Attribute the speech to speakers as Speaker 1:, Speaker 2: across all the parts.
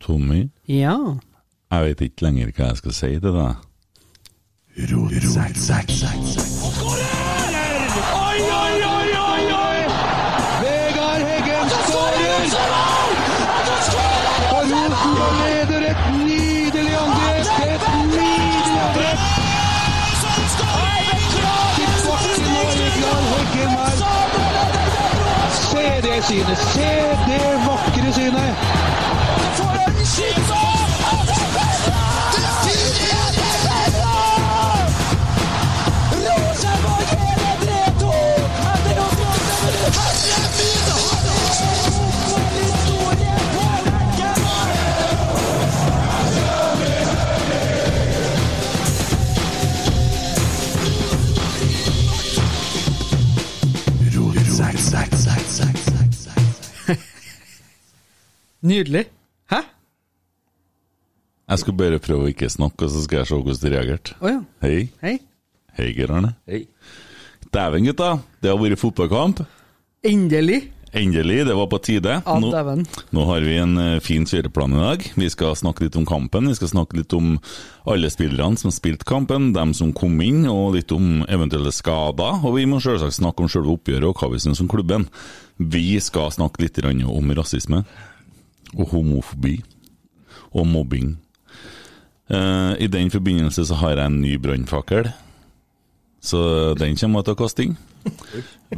Speaker 1: Tommy,
Speaker 2: Ja.
Speaker 1: jeg vet ikke lenger hva jeg skal si til deg.
Speaker 3: Oi, oi, oi, oi, oi! Vegard Heggen skårer! Og Rosenborg leder et nydelig angrep! Et nydelig angrep! Sånn Tilbake nå, Vegard Heggen her. Se det synet! Se det vakre synet!
Speaker 2: Nydelig. Hæ?
Speaker 1: Jeg skal bare prøve å ikke snakke, og så skal jeg se hvordan du reagerte.
Speaker 2: Å ja.
Speaker 1: Hei.
Speaker 2: Hei.
Speaker 1: Hei, Geir Arne.
Speaker 4: Hei.
Speaker 1: Dæven, gutta. Det har vært fotballkamp.
Speaker 2: Endelig.
Speaker 1: Endelig, det var på tide.
Speaker 2: Ja,
Speaker 1: Nå,
Speaker 2: dæven.
Speaker 1: nå har vi en eh, fin kjøreplan i dag. Vi skal snakke litt om kampen, vi skal snakke litt om alle spillerne som spilte kampen, dem som kom inn, og litt om eventuelle skader. Og vi må selvsagt snakke om selve oppgjøret og hva vi syns om klubben. Vi skal snakke litt grann om rasisme og homofobi og mobbing. Eh, I den forbindelse så har jeg en ny brannfakkel, så den kommer jeg til å kaste inn.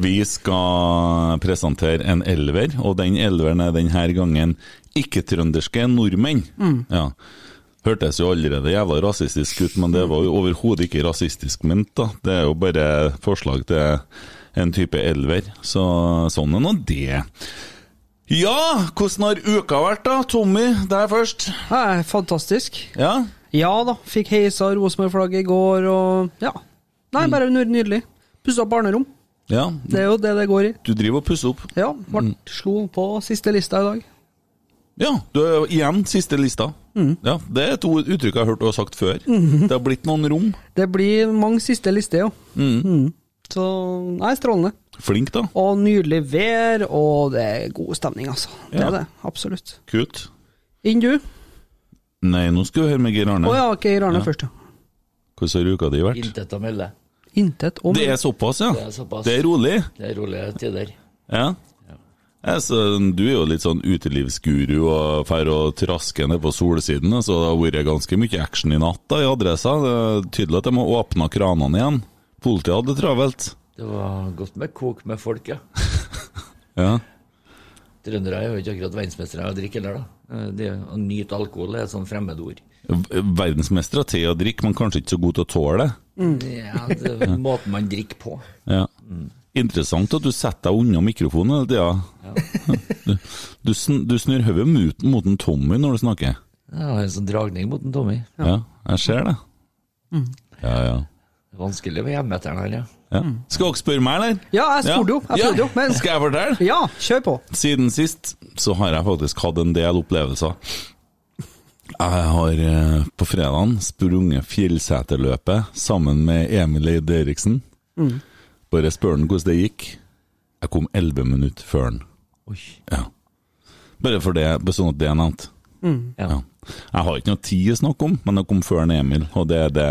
Speaker 1: Vi skal presentere en elver, og den elveren er denne gangen ikke-trønderske nordmenn. Ja. Hørtes jo allerede jævla rasistisk ut, men det var jo overhodet ikke rasistisk ment. da. Det er jo bare forslag til en type elver, så sånn er nå det. Ja, hvordan har uka vært da, Tommy? Deg først.
Speaker 2: Ja, fantastisk.
Speaker 1: Ja,
Speaker 2: Ja da. Fikk heisa Rosenborg-flagget i går, og ja. Nei, bare ny- nydelig. Pussa opp barnerom.
Speaker 1: ja.
Speaker 2: Det er jo det det går i.
Speaker 1: Du driver og pusser opp.
Speaker 2: Ja. Ble slo på siste lista i dag.
Speaker 1: Ja, du er jo igjen siste lista. Ja, Det er to uttrykk jeg har hørt du har sagt før. Det har blitt noen rom.
Speaker 2: Det blir mange siste lister, jo. Mm. Så nei, strålende.
Speaker 1: Flink, da.
Speaker 2: Og nydelig vær, og det er god stemning, altså. Det
Speaker 1: Ja.
Speaker 2: er det. Absolutt.
Speaker 1: Kutt.
Speaker 2: Inn du.
Speaker 1: Nei, nå skal vi høre med Geir Arne.
Speaker 2: Å ja, Geir Arne først, ja.
Speaker 1: Hvordan har uka di vært?
Speaker 4: Intet å melde.
Speaker 2: Intet om
Speaker 1: Det er såpass, ja?
Speaker 4: Det er såpass.
Speaker 1: Det er rolig?
Speaker 4: Det er rolige tider.
Speaker 1: Ja. Altså, du er jo litt sånn utelivsguru og drar og trasker ned på solsiden. Så det har vært ganske mye action i natt da, i Adressa. Det er tydelig at de har åpna kranene igjen. Politiet hadde det travelt.
Speaker 4: Det var godt med kok med folk, ja.
Speaker 1: Ja.
Speaker 4: Trøndere er jo ikke akkurat verdensmestere i å drikke heller, da. Eh, Det å nyte alkohol er et sånt fremmedord.
Speaker 1: V- Verdensmestere til å drikke, men kanskje ikke så god til å tåle det.
Speaker 4: Ja, det er måten man drikker på.
Speaker 1: Ja. Interessant at du setter deg unna mikrofonen hele tida. Du, du, sn- du snur hodet mot, mot en Tommy når du snakker.
Speaker 4: Jeg har en sånn dragning mot en Tommy.
Speaker 1: Ja, jeg ser det.
Speaker 2: Mm.
Speaker 1: Ja, ja.
Speaker 4: Det er Vanskelig med hjemmeteren her, ja.
Speaker 1: ja. Skal dere spørre meg, eller?
Speaker 2: Mm. Ja, jeg spurte jo. Jeg
Speaker 1: Ja.
Speaker 2: spurte jo. Men
Speaker 1: Skal jeg fortelle?
Speaker 2: ja, kjør på.
Speaker 1: Siden sist så har jeg faktisk hatt en del opplevelser. Jeg har eh, på fredagen sprunget Fjellseterløpet sammen med Emil Eid Eriksen.
Speaker 2: Mm.
Speaker 1: Bare spør han hvordan det gikk. Jeg kom elleve minutter før han.
Speaker 4: Oi.
Speaker 1: Ja. Bare for det, bare sånn at det er nevnt.
Speaker 4: Ja.
Speaker 1: Ja. Jeg har ikke noe tid å snakke om, men det kom før en Emil, og det er det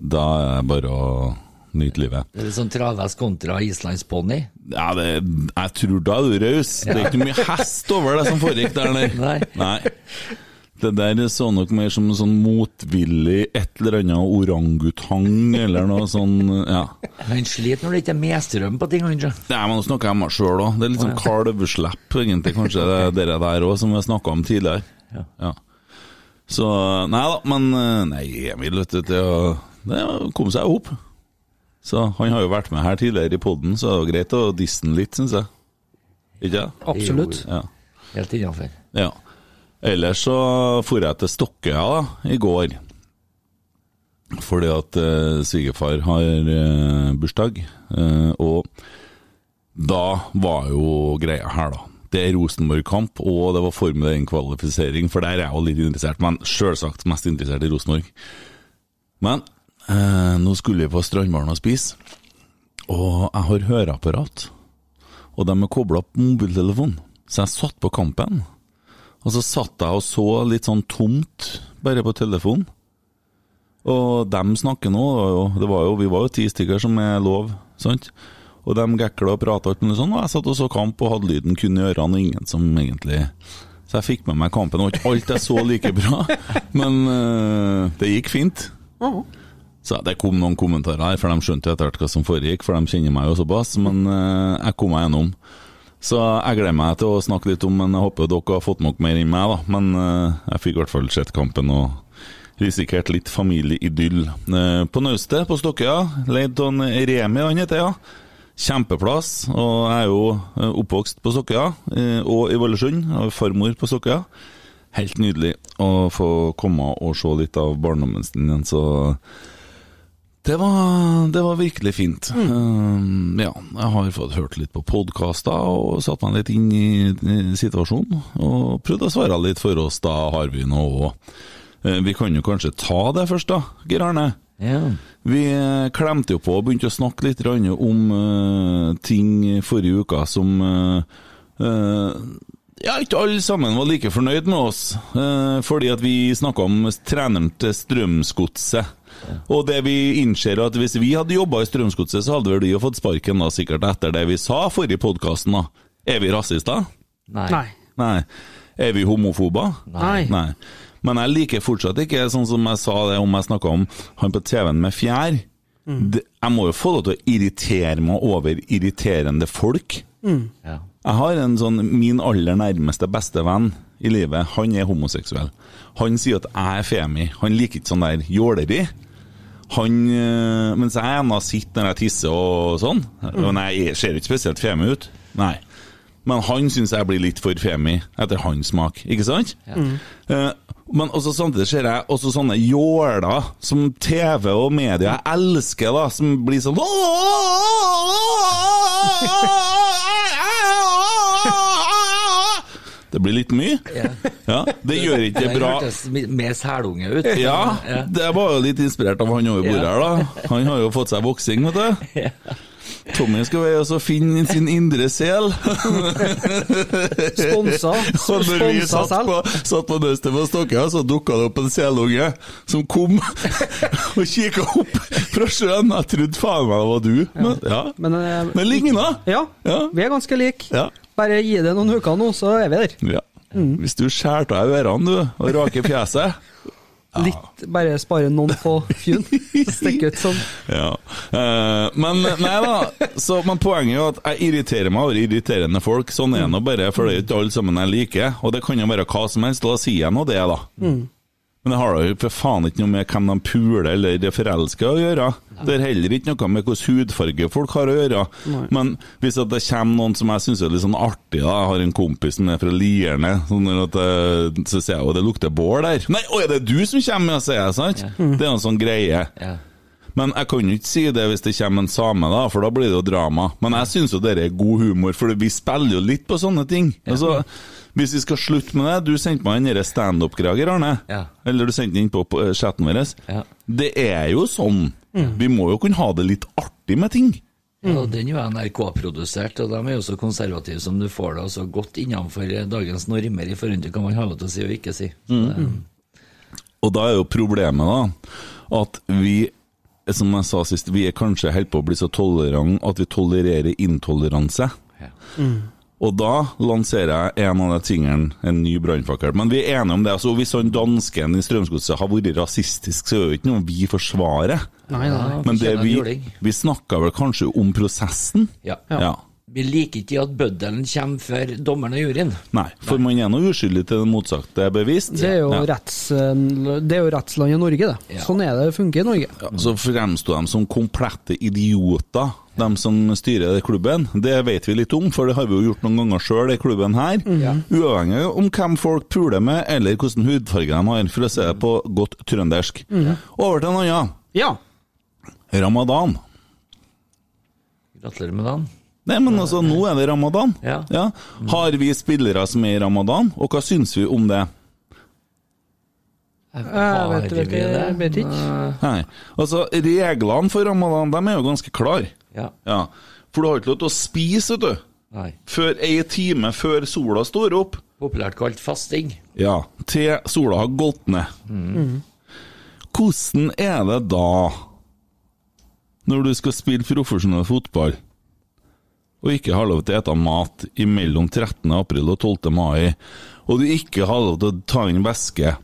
Speaker 1: Da er det bare å nyte livet.
Speaker 4: Det er litt sånn travhest kontra islandsponni.
Speaker 1: Ja, det, jeg tror da er du raus. Det er ikke mye hest over det som foregikk der.
Speaker 4: Nei.
Speaker 1: Nei. Det der så nok mer som en sånn motvillig et eller annet orangutang eller noe sånn Ja.
Speaker 4: Han sliter når det ikke er medstrøm på ting, han. tror jeg.
Speaker 1: Nei, men nå snakker jeg om meg sjøl òg. Det er litt sånn kalveslepp, egentlig, kanskje, det dere der òg, som vi har snakka om tidligere.
Speaker 4: Ja.
Speaker 1: Så Nei da, men eh, Nei, Emil, vet du, det, å- det å kom seg opp. Så han har jo vært med her tidligere i poden, så det er jo greit å disse han litt, syns jeg. Ikke det?
Speaker 2: Absolutt.
Speaker 1: Ja.
Speaker 4: Helt innafor.
Speaker 1: ja. Ellers så for jeg til Stokkøya da, i går. Fordi at eh, svigerfar har eh, bursdag. Eh, og da var jo greia her, da. Det er Rosenborg-kamp, og det var formel 1-kvalifisering, for der er jeg jo litt interessert, men sjølsagt mest interessert i Rosenborg. Men eh, nå skulle vi på Strandbaren og spise, og jeg har høreapparat. Og de er kobla opp mobiltelefon, så jeg satt på kampen. Og Og så satt jeg og så litt sånn tomt, bare på telefonen. Og dem snakker nå, og det var jo, vi var jo ti stykker som er lov, sant? Og dem gekla og prata alt mulig sånn, og jeg satt og så kamp og hadde lyden kun i ørene, og ingen som egentlig Så jeg fikk med meg kampen, og ikke alt jeg så like bra, men eh, det gikk fint.
Speaker 2: Åh.
Speaker 1: Så det kom noen kommentarer her, for de skjønte jo etter hvert hva som foregikk, for de kjenner meg jo såpass, men eh, jeg kom meg gjennom. Så jeg gleder meg til å snakke litt om, men jeg håper dere har fått med dere mer enn meg, da. Men eh, jeg fikk i hvert fall sett kampen og risikert litt familieidyll. Eh, på naustet, på Stokkøya, leid av en Remi, han heter, ja. Kjempeplass, og jeg er jo eh, oppvokst på Stokkøya, eh, og i Vålesund, og farmor på Stokkøya. Helt nydelig å få komme og se litt av barndommen sin igjen, så det var, det var virkelig fint. Um, ja, jeg har fått hørt litt på podkaster og satt meg litt inn i, i situasjonen. Og prøvd å svare litt for oss, da har vi nå òg. Vi kan jo kanskje ta det først, da, Geir Arne.
Speaker 4: Ja.
Speaker 1: Vi eh, klemte jo på og begynte å snakke litt grann om eh, ting forrige uka som eh, eh, Ja, ikke alle sammen var like fornøyd med oss, eh, fordi at vi snakka om treneren til Strømsgodset. Og det vi innser at hvis vi hadde jobba i Strømsgodset, så hadde vel de jo fått sparken da, sikkert etter det vi sa forrige podkasten, da. Er vi rasister?
Speaker 4: Nei.
Speaker 2: Nei.
Speaker 1: Nei. Er vi homofober?
Speaker 2: Nei.
Speaker 1: Nei. Men jeg liker fortsatt ikke, sånn som jeg sa det om jeg snakka om han på TV-en med fjær. Det, jeg må jo få lov til å irritere meg over irriterende folk.
Speaker 4: Ja.
Speaker 1: Jeg har en sånn min aller nærmeste bestevenn i livet. Han er homoseksuell. Han sier at jeg er femi. Han liker ikke sånn der jåleri. Han, øh, mens jeg ennå sitter når jeg tisser og sånn. Og nei, jeg ser ikke spesielt femi ut. Nei. Men han syns jeg blir litt for femi etter hans smak, ikke sant? Eh, men også samtidig ser jeg også sånne jåler som TV og media elsker, da, som blir sånn Det blir litt mye. Ja, det gjør ikke det bra.
Speaker 4: hørtes mi- mer sælunge ut.
Speaker 1: Ja, det var jo litt inspirert av han over bordet
Speaker 4: Ja.
Speaker 1: her, da. Han har jo fått seg voksing, vet du. Tommy skal være og så finne sin indre sel.
Speaker 2: Sponsa.
Speaker 1: Og når vi
Speaker 2: Sponsa
Speaker 1: satt
Speaker 2: selv.
Speaker 1: på, satt på nøstet på Stokkøya, så dukka det opp en selunge som kom og kikka opp fra sjøen. Jeg trodde faen meg det var du. Men, ja.
Speaker 2: Men, eh,
Speaker 1: Men ligner.
Speaker 2: ja,
Speaker 1: Ja.
Speaker 2: vi er ganske like.
Speaker 1: Ja.
Speaker 2: Bare gi det noen uker nå, så er vi der.
Speaker 1: ja. Hvis du skjærer av deg ørene, du, og raker fjeset
Speaker 2: Litt, bare spare noen få fjun. Stikke ut sånn.
Speaker 1: Ja. Eh, men nei da. Så, men poenget er jo at jeg irriterer meg over irriterende folk. Sånn er det nå bare, for det er jo ikke alle sammen jeg liker. Og det kan jo være hva som helst. Da sier jeg nå det, da. Men det har da jo for faen ikke noe med hvem de puler eller er forelska å gjøre. Det har heller ikke noe med hvilken hudfarge folk har å gjøre. Men hvis at det kommer noen som jeg syns er litt sånn artig, da. Jeg har en kompis som er fra Lierne. Sånn at, eh, så sier jeg jo det lukter bål der. Nei, å, er det du som kommer, sier jeg, sant? Det er jo en sånn greie.
Speaker 4: Ja.
Speaker 1: Men jeg kan jo ikke si det hvis det kommer en same, da, for da blir det jo drama. Men jeg syns jo dette er god humor, for vi spiller jo litt på sånne ting. Altså, hvis vi skal slutte med det Du sendte meg den derre standup-greia, Arne.
Speaker 4: Ja.
Speaker 1: Eller du sendte den inn på, på eh, chatten vår.
Speaker 4: Ja. Mm.
Speaker 1: Det er jo sånn. Vi må jo kunne ha det litt artig med ting.
Speaker 2: Mm.
Speaker 4: Ja, og den er jo NRK-produsert, og de er jo så konservative som du får det, og så godt innenfor eh, dagens normer i forhold til hva man har lov til å si og ikke si.
Speaker 2: Mm.
Speaker 4: Så,
Speaker 1: Og da er jo problemet da at vi, som jeg sa sist, vi er kanskje helt på å bli så tolerant at vi tolererer intoleranse.
Speaker 4: Ja.
Speaker 1: Og da lanserer jeg en av de tingene, en ny brannfakkel. Men vi er enige om det. altså Hvis han dansken i Strømsgodset har vært rasistisk, så er det jo ikke noe vi forsvarer.
Speaker 2: Nei, nei.
Speaker 4: Ja,
Speaker 1: Men det
Speaker 4: kjenner en
Speaker 1: vi,
Speaker 4: juling.
Speaker 1: vi snakka vel kanskje om prosessen?
Speaker 4: Ja.
Speaker 1: ja.
Speaker 4: Vi liker ikke at bøddelen kommer før dommeren og juryen.
Speaker 1: Nei, for man er nå uskyldig til det motsatte er bevist.
Speaker 2: Det er jo,
Speaker 1: Ja.
Speaker 2: retts, eh, det er jo rettslandet Norge, det.
Speaker 4: Ja.
Speaker 2: Sånn er det det funker i Norge.
Speaker 1: Ja, så fremsto de som komplette idioter, de som styrer det klubben. Det vet vi litt om, for det har vi jo gjort noen ganger sjøl i klubben her. Uavhengig om hvem folk puler med, eller hvilken hudfarge de har, for å si det på godt trøndersk. Over til en annen.
Speaker 2: Ja.
Speaker 1: Ramadan.
Speaker 4: Gratulerer med dagen.
Speaker 1: Nei, men altså, nå er det ramadan.
Speaker 4: Ja.
Speaker 1: Har vi spillere som er i ramadan, og hva syns vi om det?
Speaker 2: Jeg Eh, vet, vet,
Speaker 4: vi
Speaker 2: jeg
Speaker 4: det?
Speaker 2: vet ikke.
Speaker 1: Nei. Altså, reglene for ramadan, de er jo ganske klare.
Speaker 4: Ja.
Speaker 1: Ja. For du har ikke lov til å spise, vet du.
Speaker 4: Nei.
Speaker 1: før ei time før sola står opp.
Speaker 4: Populært kalt fasting.
Speaker 1: Ja, til sola har gått ned. Hvordan er det da, når du skal spille profesjonell fotball, og ikke har lov til å ete mat mellom 13. april og 12. mai, og du ikke har lov til å ta inn væske?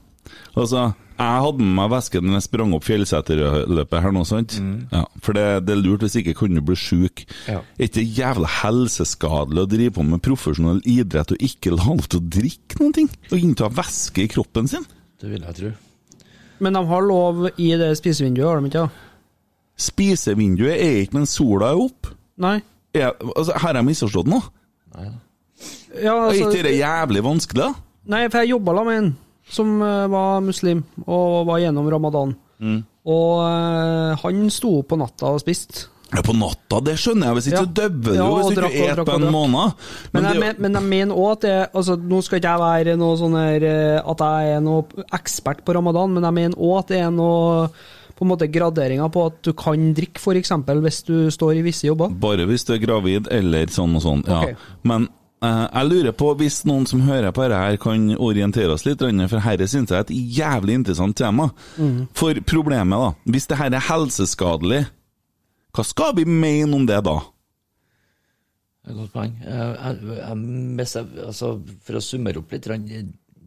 Speaker 1: Altså, jeg hadde med meg væske når jeg sprang opp Fjellseterløpet her nå, sant?
Speaker 2: Mm.
Speaker 1: Ja, for det, det er lurt, hvis ikke kan du bli sjuk.
Speaker 4: Ja.
Speaker 1: Er ikke det jævla helseskadelig å drive på med profesjonell idrett og ikke la lov til å drikke noen ting? Og innta væske i kroppen sin?
Speaker 4: Det vil jeg tro.
Speaker 2: Men de har lov i det spisevinduet, har de ikke? da?
Speaker 1: Spisevinduet er ikke, men sola er opp.
Speaker 2: Nei?
Speaker 1: Er, altså, her har jeg misforstått noe.
Speaker 4: Nei da.
Speaker 2: Ja,
Speaker 1: Er ikke
Speaker 2: altså,
Speaker 1: det jævlig vanskelig? da?
Speaker 2: nei, for jeg jobba med en som eh, var muslim, og var gjennom ramadan. Og eh, han sto opp på natta og spiste.
Speaker 1: Ja, på natta, det skjønner jeg, hvis ikke
Speaker 2: Ja.
Speaker 1: du døver
Speaker 2: Ja,
Speaker 1: du, hvis
Speaker 2: og
Speaker 1: ikke
Speaker 2: drakk,
Speaker 1: du
Speaker 2: og
Speaker 1: et
Speaker 2: drakk,
Speaker 1: på
Speaker 2: og
Speaker 1: en
Speaker 2: drakk.
Speaker 1: måned.
Speaker 2: Men,
Speaker 1: Men
Speaker 2: jeg,
Speaker 1: det,
Speaker 2: men- men jeg mener òg at jeg, altså, Nå skal ikke jeg være noe sånn her eh, At jeg er noe ekspert på ramadan, men jeg mener òg at det er noe på en måte graderinger på at du kan drikke, f.eks. hvis du står i visse jobber.
Speaker 1: Bare hvis du er gravid eller sånn og sånn, ja.
Speaker 2: Ok.
Speaker 1: Men eh, jeg lurer på, hvis noen som hører på dette her kan orientere oss litt, Rønne, for herre synes jeg er et jævlig interessant tema.
Speaker 2: Mhm.
Speaker 1: For problemet da, hvis dette er helseskadelig, hva skal vi mene om det da?
Speaker 4: Det er et Godt poeng. Eh, Jeg, jeg, jeg, hvis jeg, altså, for å summere opp litt grann,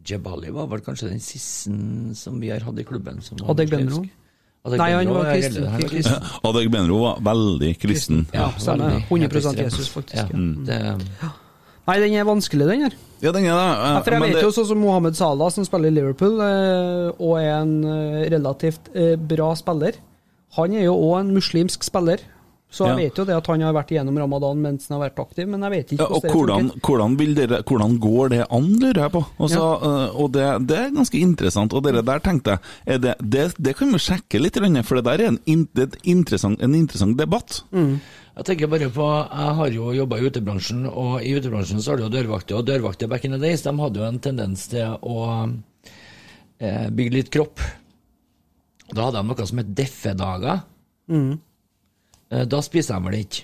Speaker 4: Jebali var vel kanskje den siste som vi har hatt i klubben. Som var
Speaker 2: Adek Benro?
Speaker 4: muslimsk. Adek
Speaker 2: Nei, han
Speaker 4: Benro
Speaker 2: var
Speaker 4: er
Speaker 2: kristen.
Speaker 4: religiøs. Han var
Speaker 2: kristen.
Speaker 1: Adeg Benro var veldig kristen.
Speaker 2: Ja, stemmer.
Speaker 4: veldig.
Speaker 2: 100
Speaker 4: Helt
Speaker 2: Jesus,
Speaker 4: ekstremt.
Speaker 2: faktisk.
Speaker 4: Ja,
Speaker 2: Ja.
Speaker 4: det,
Speaker 2: Nei, den er vanskelig, den her.
Speaker 1: Ja, den er det. eh,
Speaker 2: Ja, for jeg
Speaker 1: men
Speaker 2: vet
Speaker 1: det-
Speaker 2: jo sånn som Mohammed Salah, som spiller i Liverpool, eh, og er en eh, relativt eh, bra spiller. Han er jo òg en muslimsk spiller, så jeg
Speaker 1: Ja.
Speaker 2: vet jo det at han har vært igjennom ramadan mens han har vært aktiv, men jeg vet ikke
Speaker 1: Ja, og
Speaker 2: det
Speaker 1: hvordan,
Speaker 2: funker.
Speaker 1: hvordan, vil dere, hvordan går det an, lurer jeg på. Altså, eh, og det, det er ganske interessant. Og det der tenkte jeg er det, det, det kan vi sjekke litt, Rønne, for det der er en, in, det er et interessant, en interessant debatt.
Speaker 4: jeg tenker bare på, jeg har jo jobba i utebransjen, og i utebransjen så har du jo dørvakter. Og dørvakter back in the days, de hadde jo en tendens til å eh, bygge litt kropp. Da hadde de noe som het deffedager. Eh, da spiser de vel ikke.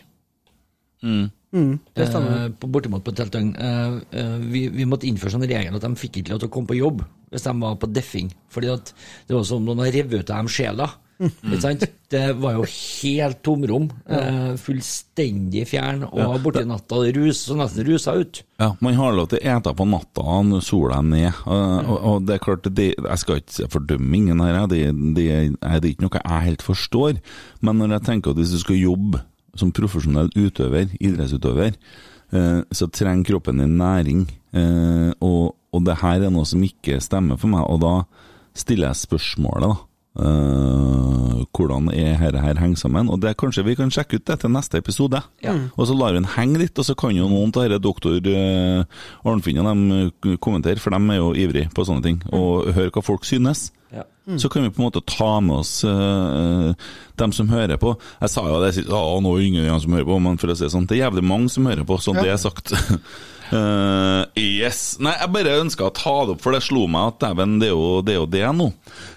Speaker 2: Det stemmer.
Speaker 4: Eh, på, bortimot på et helt døgn. Eh, eh, vi, vi måtte innføre sånn regel at de fikk ikke lov til å komme på jobb hvis de var på deffing. Fordi at det var som om noen har revet ut av dem sjela.
Speaker 2: Mhm.
Speaker 4: Ikke sant? Det var jo helt tomrom. eh, fullstendig fjern. Og borti natta rus, så nesten rusa ut.
Speaker 1: Ja, Man har lov til å ete på natta når sola er ned. Og, og, og det er klart, det, jeg skal ikke fordømme ingen her, jeg. det, det, er- det er ikke noe jeg helt forstår. Men når jeg tenker at hvis du skal jobbe som profesjonell utøver, idrettsutøver, eh, så trenger kroppen din næring. Eh, og, og det her er noe som ikke stemmer for meg, og da stiller jeg spørsmålet, da. Eh, hvordan er dette her henger sammen? Og det er kanskje vi kan sjekke ut det til neste episode. Og så lar vi den henge litt, og så kan jo noen av disse doktor eh, Arnfinn og dem eh, kommentere, for de er jo ivrige på sånne ting, og høre hva folk synes. Så kan vi på en måte ta med oss eh, dem som hører på. Jeg sa jo det sist, «Å, nå er det ingen av dem som hører på, men for å si det sånn, det er jævlig mange som hører på, sånn det er sagt. Eh, yes. Nei, jeg bare ønska å ta det opp, for det slo meg at dæven, det er jo det, er jo det nå.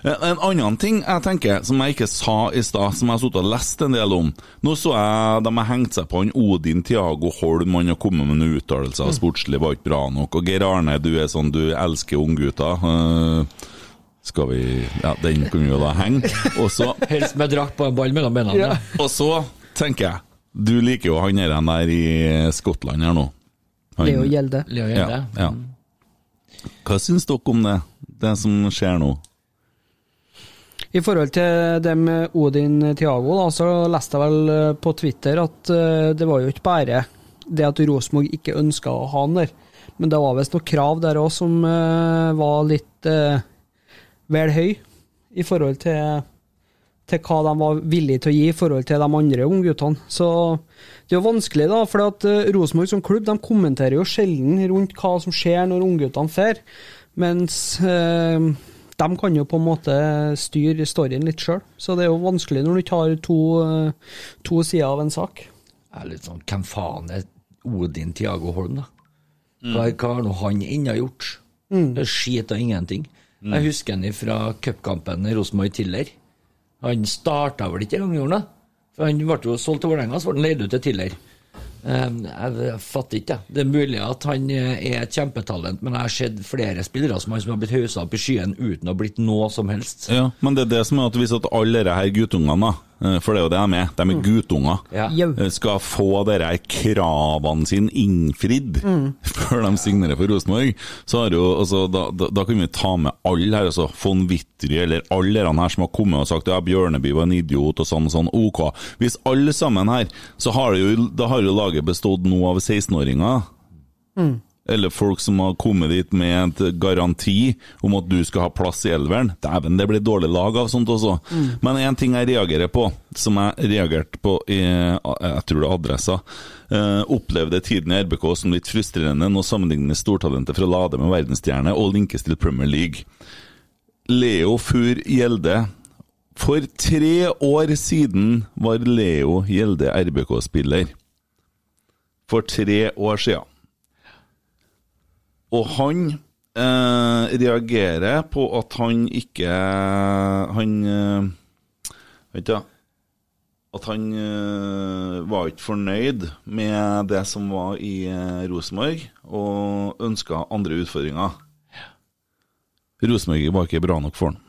Speaker 1: Eh, En annen ting jeg tenker, som jeg ikke sa i stad, som jeg har sittet og lest en del om Nå så jeg de har hengt seg på han Odin Tiago Holm, han har kommet med noen uttalelser, sportslig var ikke bra nok. Og Geir Arne, du er sånn, du elsker unggutter. Uh, skal vi Ja, den kunne vi jo da henge. Og så,
Speaker 4: Helst med drakt på en ball mellom beina. Ja.
Speaker 1: og så tenker jeg Du liker jo han der, han der i Skottland her nå. Han-
Speaker 2: Det er jo gjelde.
Speaker 4: Leo Mm.
Speaker 1: ja,
Speaker 4: Gjelde.
Speaker 1: ja. Hva syns dere om det, det som skjer nå?
Speaker 2: I forhold til det med Odin Tiago, da, så leste jeg vel eh, på Twitter at eh, det var jo ikke bare det at Rosenborg ikke ønska å ha han der, men det var visst noen krav der òg som eh, var litt eh, vel høy i forhold til, til hva de var villige til å gi i forhold til de andre ungguttene. Så det er jo vanskelig, da, for at eh, Rosenborg som klubb de kommenterer jo sjelden rundt hva som skjer når ungguttene drar, mens eh, de kan jo på en måte styre storyen litt sjøl. Så det er jo vanskelig når du ikke har to, eh, to sider av en sak.
Speaker 4: Jeg er litt sånn, Hvem faen er Odin Tiago Holm, da? Hva, hva har nå han ennå gjort? Det er Skit og ingenting. Jeg husker han fra cupkampen i Rosenborg-Tiller. Han starta vel ikke engang, gjorde han det? For han ble jo solgt til Vålerenga, så ble han leid ut til Tiller. Eh, Jeg jeg fatter ikke, jeg. Det er mulig at han eh, er et kjempetalent, men jeg har sett flere spillere som han som har blitt hausa opp i skyen uten å ha blitt noe som helst.
Speaker 1: Ja, men det er det som er at hvis at alle disse her guttungene, da, eh, for det er jo det de er, de er guttunger,
Speaker 4: Ja.
Speaker 2: Jau.
Speaker 1: eh, skal få dere her kravene sine innfridd før de signerer for Rosenborg, så har jo, altså, da, da, da kan vi ta med alle her, altså von Wittry eller alle de her som har kommet og sagt ja, Bjørneby var en idiot og sånn og sånn, ok. Hvis alle sammen her, så har det jo, da har jo laget bestått nå av 16-åringer, eller folk som har kommet dit med et garanti om at du skal ha plass i elveren. Dæven, det blir dårlig lag av sånt også. Men én ting jeg reagerer på, som jeg reagerte på i jeg tror det er adressa eh, Opplevde tiden i RBK som litt frustrerende når sammenligner stortalentet fra Lade med verdensstjerne og linkes til Premier League. Leo Fur Gjelde. For tre år siden var Leo Gjelde RBK-spiller. For tre år sia. Og han eh, reagerer på at han ikke Han eh, Vet du At han eh, var ikke fornøyd med det som var i eh, Rosenborg, og ønska andre utfordringer. Rosenborg var ikke bra nok for han.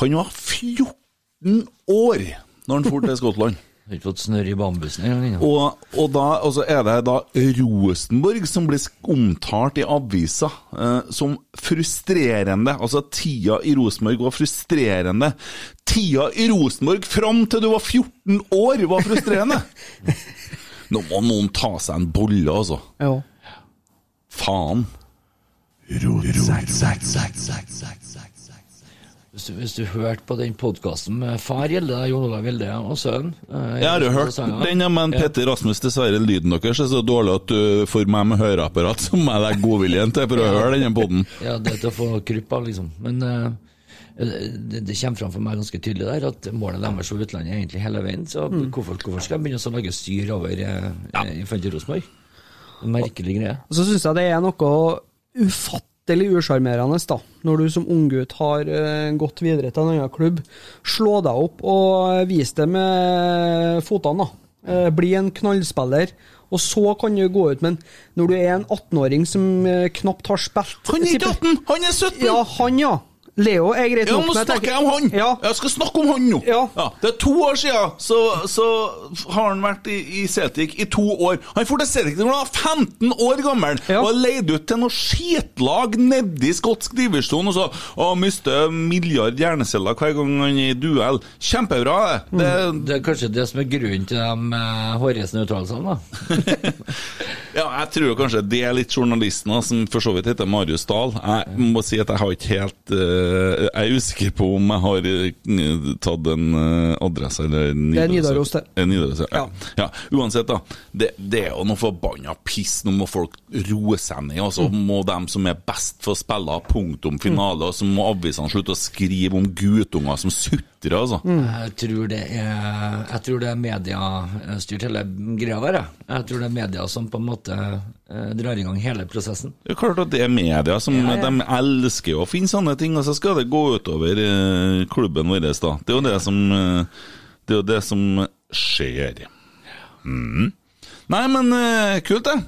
Speaker 1: Han var 14 år når han dro til Skottland.
Speaker 4: Jeg Har ikke fått snørr i bambusen engang. ennå.
Speaker 1: Og, og, da, og så er det da Rosenborg som blir sk- omtalt i avisa eh, som frustrerende. Altså, tida i Rosenborg var frustrerende. Tida i Rosenborg fram til du var 14 år, var frustrerende! Nå må noen ta seg en bolle, altså.
Speaker 2: Ja.
Speaker 1: Faen.
Speaker 4: Hvis, du- hvis du hørte på den podkasten med far Gjelde, da, Jon Olav Gjelde og sønnen eh,
Speaker 1: Jeg har jo hørt
Speaker 4: sangen.
Speaker 1: den, ja, men Petter Rasmus, dessverre, lyden deres er så dårlig at du får meg med høreapparat, så må jeg legge godviljen til for å høre denne poden.
Speaker 4: Ja, det er til å få krypa, liksom. Men eh, det, det kommer fram for meg ganske tydelig der at målet deres og utlandet er egentlig hele veien. Så
Speaker 1: Mm.
Speaker 4: hvorfor, hvorfor skal de begynne å lage styr over eh, eh, i forhold til Rosenborg? En Merkelig greie.
Speaker 2: Og så syns jeg det er noe ufattelig usjarmerende, da, når du som unggutt har eh, gått videre til en annen klubb. Slå deg opp og vis det med fotene, da. Eh, bli en knallspiller. Og så kan du gå ut, men når du er en 18-åring som eh, knapt har spilt
Speaker 1: Han er ikke 18, han er 17!
Speaker 2: Ja, han, ja. Leo er greit
Speaker 1: Ja, nå
Speaker 2: nok. men jeg
Speaker 1: snakker
Speaker 2: tenker-
Speaker 1: jeg om han!
Speaker 2: Ja.
Speaker 1: Jeg skal snakke om han nå!
Speaker 2: Ja.
Speaker 1: Det er to år siden, så, så har han vært i, i Celtic i to år. Han dro til Celtic da han var 15 år gammel
Speaker 2: Ja.
Speaker 1: og er leid ut til noe skitlag nedi skotsk divisjon og så og mister milliard hjerneceller hver gang han er i duell. Kjempebra,
Speaker 2: Mm.
Speaker 1: det. det
Speaker 4: Det er kanskje det som er grunnen til de eh, hårreisende uttalelsene, da.
Speaker 1: ja, jeg tror jo kanskje det er litt journalisten da, som for så vidt heter Marius Dahl. Jeg må si at jeg har ikke helt eh, Jeg er usikker på om jeg har eh, tatt en eh, adresse eller
Speaker 2: er Nidaros, det.
Speaker 1: Eh, Nidaros, ja. Ja. ja. Uansett, da. Det, det er jo noe forbanna piss. Nå må folk roe seg ned. Og så
Speaker 2: Mm.
Speaker 1: må dem som er best, få spille punktum finale. Og så må avisene slutte å skrive om guttunger som sutrer, altså.
Speaker 2: Mm.
Speaker 4: Jeg tror det er, jeg tror det er mediestyrt hele greia der, jeg. Jeg tror det er media som på en måte eh, drar i gang hele prosessen.
Speaker 1: Det er klart at det er media som De elsker jo å finne sånne ting, og så skal det gå utover eh, klubben vår, da. Det er jo det som eh, Det er jo det som skjer. Mm. Nei, men eh, kult, det.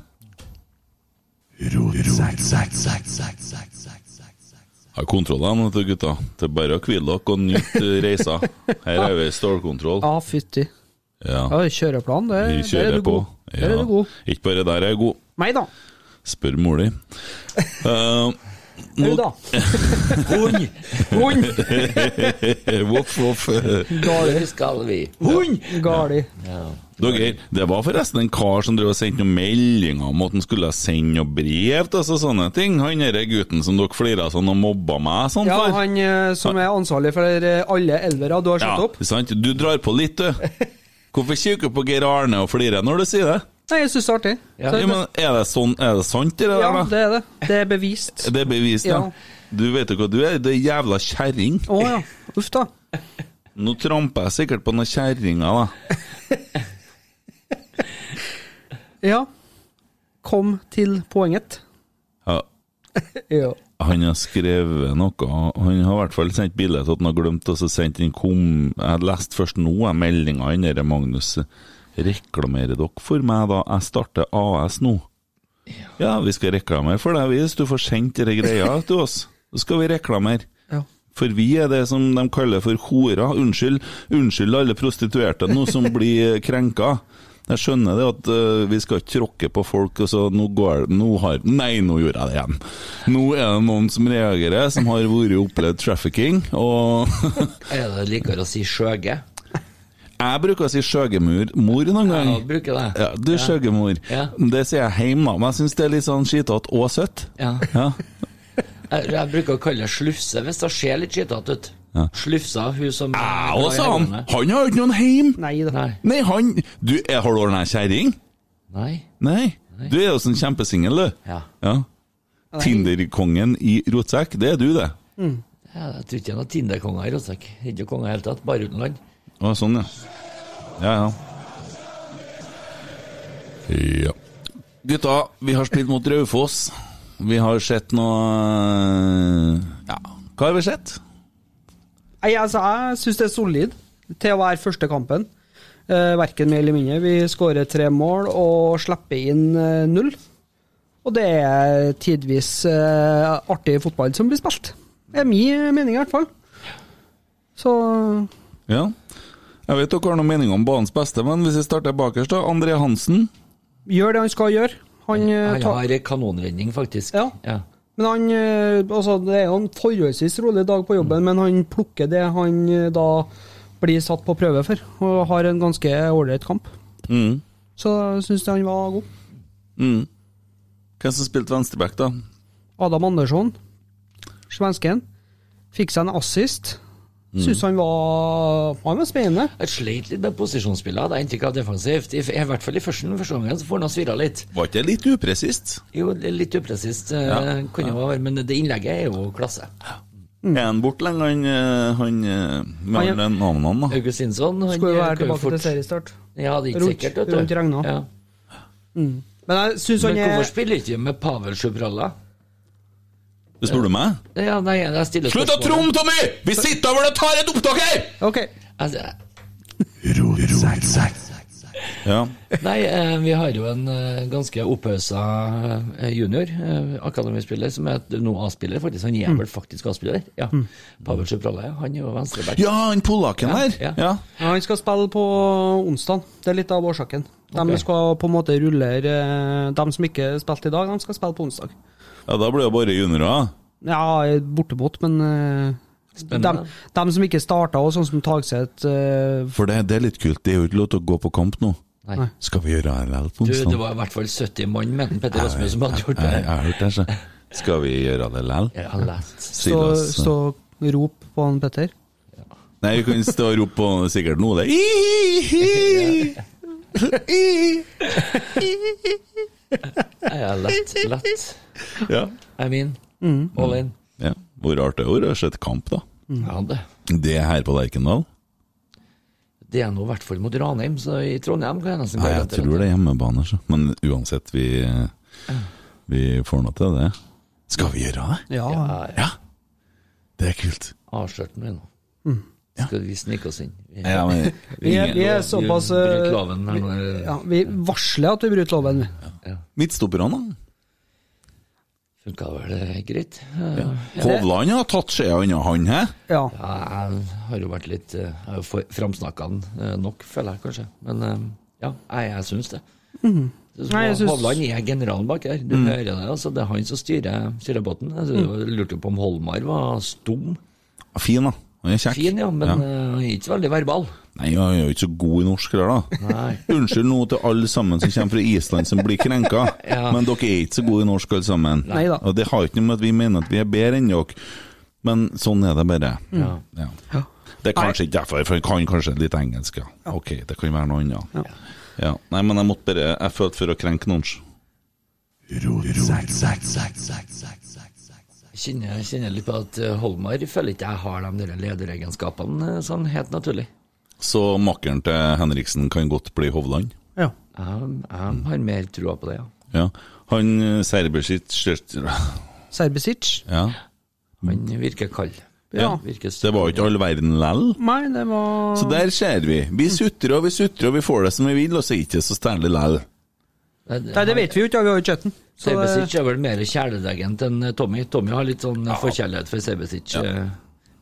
Speaker 1: Har kontrollene, vet du, gutta. Det er bare å hvile dere og nyte eh, reisa. Her er vi i stålkontroll.
Speaker 2: Ja, fytti.
Speaker 1: Ja,
Speaker 2: Ja, kjøreplan, det,
Speaker 1: vi
Speaker 2: der er
Speaker 1: kjører
Speaker 2: du
Speaker 1: på.
Speaker 2: god. Der er
Speaker 1: Ja.
Speaker 2: du god.
Speaker 1: Ikke bare der er jeg god.
Speaker 2: Meg, da.
Speaker 1: Spør mor di. Eh,
Speaker 2: Du, da.
Speaker 4: Hund!
Speaker 2: Hund!
Speaker 1: voff, voff.
Speaker 4: Der skal vi! Hund!
Speaker 2: Gali.
Speaker 1: Dere, det var forresten en kar som drev og sendte noen meldinger om at han skulle sende noen brev til oss og sånne ting. Han derre gutten som dere flira sånn og mobba meg sånn
Speaker 2: Ja,
Speaker 1: for.
Speaker 2: han eh, som er ansvarlig for eh, alle elvere du har satt opp.
Speaker 1: sant? Du drar på litt, du. Hvorfor kikker du på Geir Arne og flirer når du sier det?
Speaker 2: Nei, jeg syns det er artig.
Speaker 4: Ja,
Speaker 2: Så-
Speaker 1: Ja, men er det, sånn, er det sant, det
Speaker 2: ja,
Speaker 1: der? da?
Speaker 2: det er det. Det er bevist.
Speaker 1: Det er bevist, ja.
Speaker 2: Ja.
Speaker 1: Du vet jo hva du er, det er jævla kjerring.
Speaker 2: Å ja. Uff da.
Speaker 1: Nå tramper jeg sikkert på noen kjerringer, da.
Speaker 2: Ja. Kom til poenget.
Speaker 1: Ja,
Speaker 2: Ja.
Speaker 1: Han har skrevet noe Han har i hvert fall sendt bilde til at han har glemt å så sendt inn kom... Jeg leste først nå jeg meldinga han derre Magnus Reklamerer dere for meg da? Jeg starter AS nå. Ja, vi skal reklamere for deg hvis du får sendt dere greia til oss. Så skal vi reklamere.
Speaker 2: Ja.
Speaker 1: For vi er det som de kaller for horer. Unnskyld, unnskyld alle prostituerte nå som blir krenka. Jeg skjønner det at eh, vi skal ikke tråkke på folk, og så nå går nå har, Nei, nå gjorde jeg det igjen! Nå er det noen som reagerer, som har vært og opplevd trafficking, og
Speaker 4: Er det likere å si skjøge?
Speaker 1: Jeg bruker å si skjøgemor mor noen gang.
Speaker 4: Ja, bruker det.
Speaker 1: Ja, du skjøgemor.
Speaker 4: Ja.
Speaker 1: Det sier jeg hjemme, da, men jeg syns det er litt sånn skitete og søtt.
Speaker 4: Ja.
Speaker 1: Ja.
Speaker 4: Jeg, jeg bruker å kalle det slufse hvis det ser litt skittete ut. Slufsa, hun som
Speaker 1: Jeg òg, sa han. Han har jo ikke noen heim!
Speaker 2: Nei, det
Speaker 4: Nei.
Speaker 1: Nei, han Du, er, har du ordna ei kjerring?
Speaker 4: Nei.
Speaker 1: Nei. Du er jo sånn kjempesingel, du.
Speaker 4: Ja.
Speaker 1: Ja. Tinder-kongen i rotsekk, det er du, det.
Speaker 4: Ja, Jeg tror ikke det er noen Tinder-konger i Rosenborg. Ikke konger i det hele tatt, bare utenland.
Speaker 1: Å, sånn, ja. Ja, ja. Ja. Gutta, vi har spilt mot Raufoss. Vi har sett noe Ja, hva har vi sett?
Speaker 2: Nei, altså, jeg syns det er solid til å være første kampen. Eh, verken mer eller mindre. Vi skårer tre mål og slipper inn eh, null. Og det er tidvis eh, artig fotball som blir spilt. Det er min mening, i hvert fall. Så
Speaker 1: Ja. Jeg vet dere har noen meninger om banens beste, men hvis vi starter bakerst, da. André Hansen.
Speaker 2: gjør det han skal gjøre. Han, eh,
Speaker 4: Han
Speaker 2: tar-
Speaker 4: har kanonredning, faktisk.
Speaker 2: Ja. Men han eh, Altså, det er jo en forholdsvis rolig dag på jobben, men han plukker det han eh, da blir satt på prøve for, og har en ganske ålreit kamp.
Speaker 1: Mm.
Speaker 2: Så syns jeg han var god.
Speaker 1: Mm. Hvem som spilte venstreback, da?
Speaker 2: Adam Andersson, svensken, fikk seg en assist. Syns han var Han var spennende.
Speaker 4: Jeg sleit litt med posisjonsspillet, hadde jeg inntrykk av defensivt. I, I hvert fall i første første omgang, så får han svirra litt.
Speaker 1: Var ikke det litt upresist?
Speaker 4: Jo, det er litt upresist, eh,
Speaker 1: Ja.
Speaker 4: kunne jo være, men det innlegget er jo klasse.
Speaker 1: Mm. Er han borte lenge, han, eh, han eh, med
Speaker 2: Han er-
Speaker 1: alle navnene, da?
Speaker 4: Augustinsson han
Speaker 2: Skulle jo
Speaker 4: eh,
Speaker 2: være
Speaker 4: kan jo
Speaker 2: tilbake til seriestart.
Speaker 4: Ja, det er ikke
Speaker 2: Rundt-
Speaker 4: sikkert, vet du.
Speaker 2: rundt regnet.
Speaker 4: Ja.
Speaker 2: Men jeg syns han
Speaker 4: Men
Speaker 2: er
Speaker 4: hvorfor spiller ikke med Pavel Sjubralla?
Speaker 1: Det spør du meg?
Speaker 4: Ja, nei, jeg stiller
Speaker 1: Slutt å
Speaker 4: spørsmålet.
Speaker 1: tromme, Tommy! Vi sitter over og tar et opptak her!
Speaker 2: OK.
Speaker 4: Altså,
Speaker 1: Ja.
Speaker 4: Nei, eh, vi har jo en eh, ganske opphausa eh, junior, eh, akademispiller, som er et- nå A-spiller, faktisk. Han
Speaker 2: Mm.
Speaker 4: er vel faktisk A-spiller? Ja. Pavel Sjubralla, ja. Han er jo venstreback.
Speaker 1: ja, han polakken
Speaker 4: Ja,
Speaker 1: der.
Speaker 4: ja.
Speaker 1: Ja.
Speaker 2: Ja, han skal spille på onsdag. Det er litt av årsaken. De
Speaker 4: Ok.
Speaker 2: skal på en måte rullere eh, De som ikke spilte i dag, de skal spille på onsdag.
Speaker 1: ja, da blir det bare juniorer.
Speaker 2: Ja, bortimot, men
Speaker 4: Spennende.
Speaker 2: de, som ikke starta, og sånn som Tagseth eh,
Speaker 1: For det, det er litt kult. Det er jo ikke lov til å gå på kamp nå.
Speaker 4: Nei.
Speaker 1: Skal vi gjøre RLL på
Speaker 4: Du,
Speaker 1: onsdag?
Speaker 4: det var i hvert fall 70 mann, mente Petter Rasmus, som hadde gjort
Speaker 1: Jeg, jeg,
Speaker 4: det.
Speaker 1: har hørt det, så. Skal vi gjøre det lell?
Speaker 4: Jeg har lest.
Speaker 2: Så,
Speaker 1: Silas,
Speaker 2: så rop på han Petter.
Speaker 1: altså. Nei, vi kan stå og rope på sikkert nå, det. Ihihi! Ihihi!
Speaker 4: Jeg har lett, lett.
Speaker 1: Ja.
Speaker 4: I mean,
Speaker 2: Mm.
Speaker 4: all in.
Speaker 1: ja. Hvor rart det er å se et kamp, da.
Speaker 4: Ja, det.
Speaker 1: Det er her på Lerkendal.
Speaker 4: det er nå i hvert fall mot Ranheim, så i Trondheim kan jeg nesten
Speaker 1: Nei, jeg tror det er hjemmebane, så. Men uansett, vi, vi får nå til det. Skal vi gjøre det?
Speaker 2: Ja,
Speaker 4: Ja, ja.
Speaker 1: Ja. Det er kult.
Speaker 4: Avslørte vi nå.
Speaker 2: Mm,
Speaker 4: Skal vi snike oss inn? Vi-
Speaker 1: Ja, men
Speaker 2: Vi er, vi er Eh, såpass eh,
Speaker 4: bryter loven her nå.
Speaker 2: vi- ja, Vi varsler at vi bryter loven. vi.
Speaker 1: Midtstopperne, da?
Speaker 4: Funka vel eh, greit? Eh,
Speaker 1: Hovland har tatt skjea unna han, hæ?
Speaker 2: Ja.
Speaker 4: Ja, jeg har jo vært litt eh, Jeg har jo framsnakka den eh, nok, føler jeg kanskje. Men eh, ja, jeg, jeg syns det. Så
Speaker 2: Mhm. Nei, jeg Mhm. syns-
Speaker 4: Hovland er generalen bak her. Du hører det, altså. Det er han som styrer, styrer båten. Altså,
Speaker 2: Mhm.
Speaker 4: Jeg lurte jo på om Holmar var stum.
Speaker 1: Fin, da. Han er kjekk.
Speaker 4: Fin, ja, men eh, han er ikke så veldig verbal.
Speaker 1: Nei, han er jo ikke så god i norsk, der, da.
Speaker 4: Nei.
Speaker 1: Unnskyld nå til alle sammen som kommer fra Island som blir krenka,
Speaker 4: Ja.
Speaker 1: men dere er ikke så gode i norsk alle sammen.
Speaker 2: Nei da.
Speaker 1: Og det har ikke noe med at vi mener at vi er bedre enn dere, men sånn er det bare.
Speaker 4: Ja.
Speaker 1: Ja.
Speaker 2: Mm. Ja.
Speaker 1: Det er kanskje ikke derfor, for han kan kanskje litt engelsk, ja. Ok, det kan være noe annet. Ja. Nei, men jeg måtte bare Jeg følte for å krenke noen.
Speaker 4: Jeg kjenner, jeg kjenner litt på at eh, Holmar føler ikke jeg har de der lederegenskapene eh, sånn helt naturlig.
Speaker 1: Så makkeren til Henriksen kan godt bli Hovland.
Speaker 2: ja.
Speaker 4: Jeg, jeg har mer trua på det, ja.
Speaker 1: Ja. Han eh, serber sitt skjørt-
Speaker 2: Serbisic
Speaker 1: Ja.
Speaker 4: Han virker kald.
Speaker 2: Ja. Mm.
Speaker 4: Virker
Speaker 1: Så det var jo ikke all verden lell.
Speaker 2: Nei, det var
Speaker 1: Så der ser vi. Vi sutrer og vi sutrer, og vi får det som vi vil, og så er det ikke så stærlig lell.
Speaker 2: Nei, det vet vi jo ikke, vi har jo ikke sett den. Så det-
Speaker 4: Sebesic er vel mer kjæledegent enn eh, Tommy. Tommy har litt sånn eh, forkjærlighet for Sebesic. eh,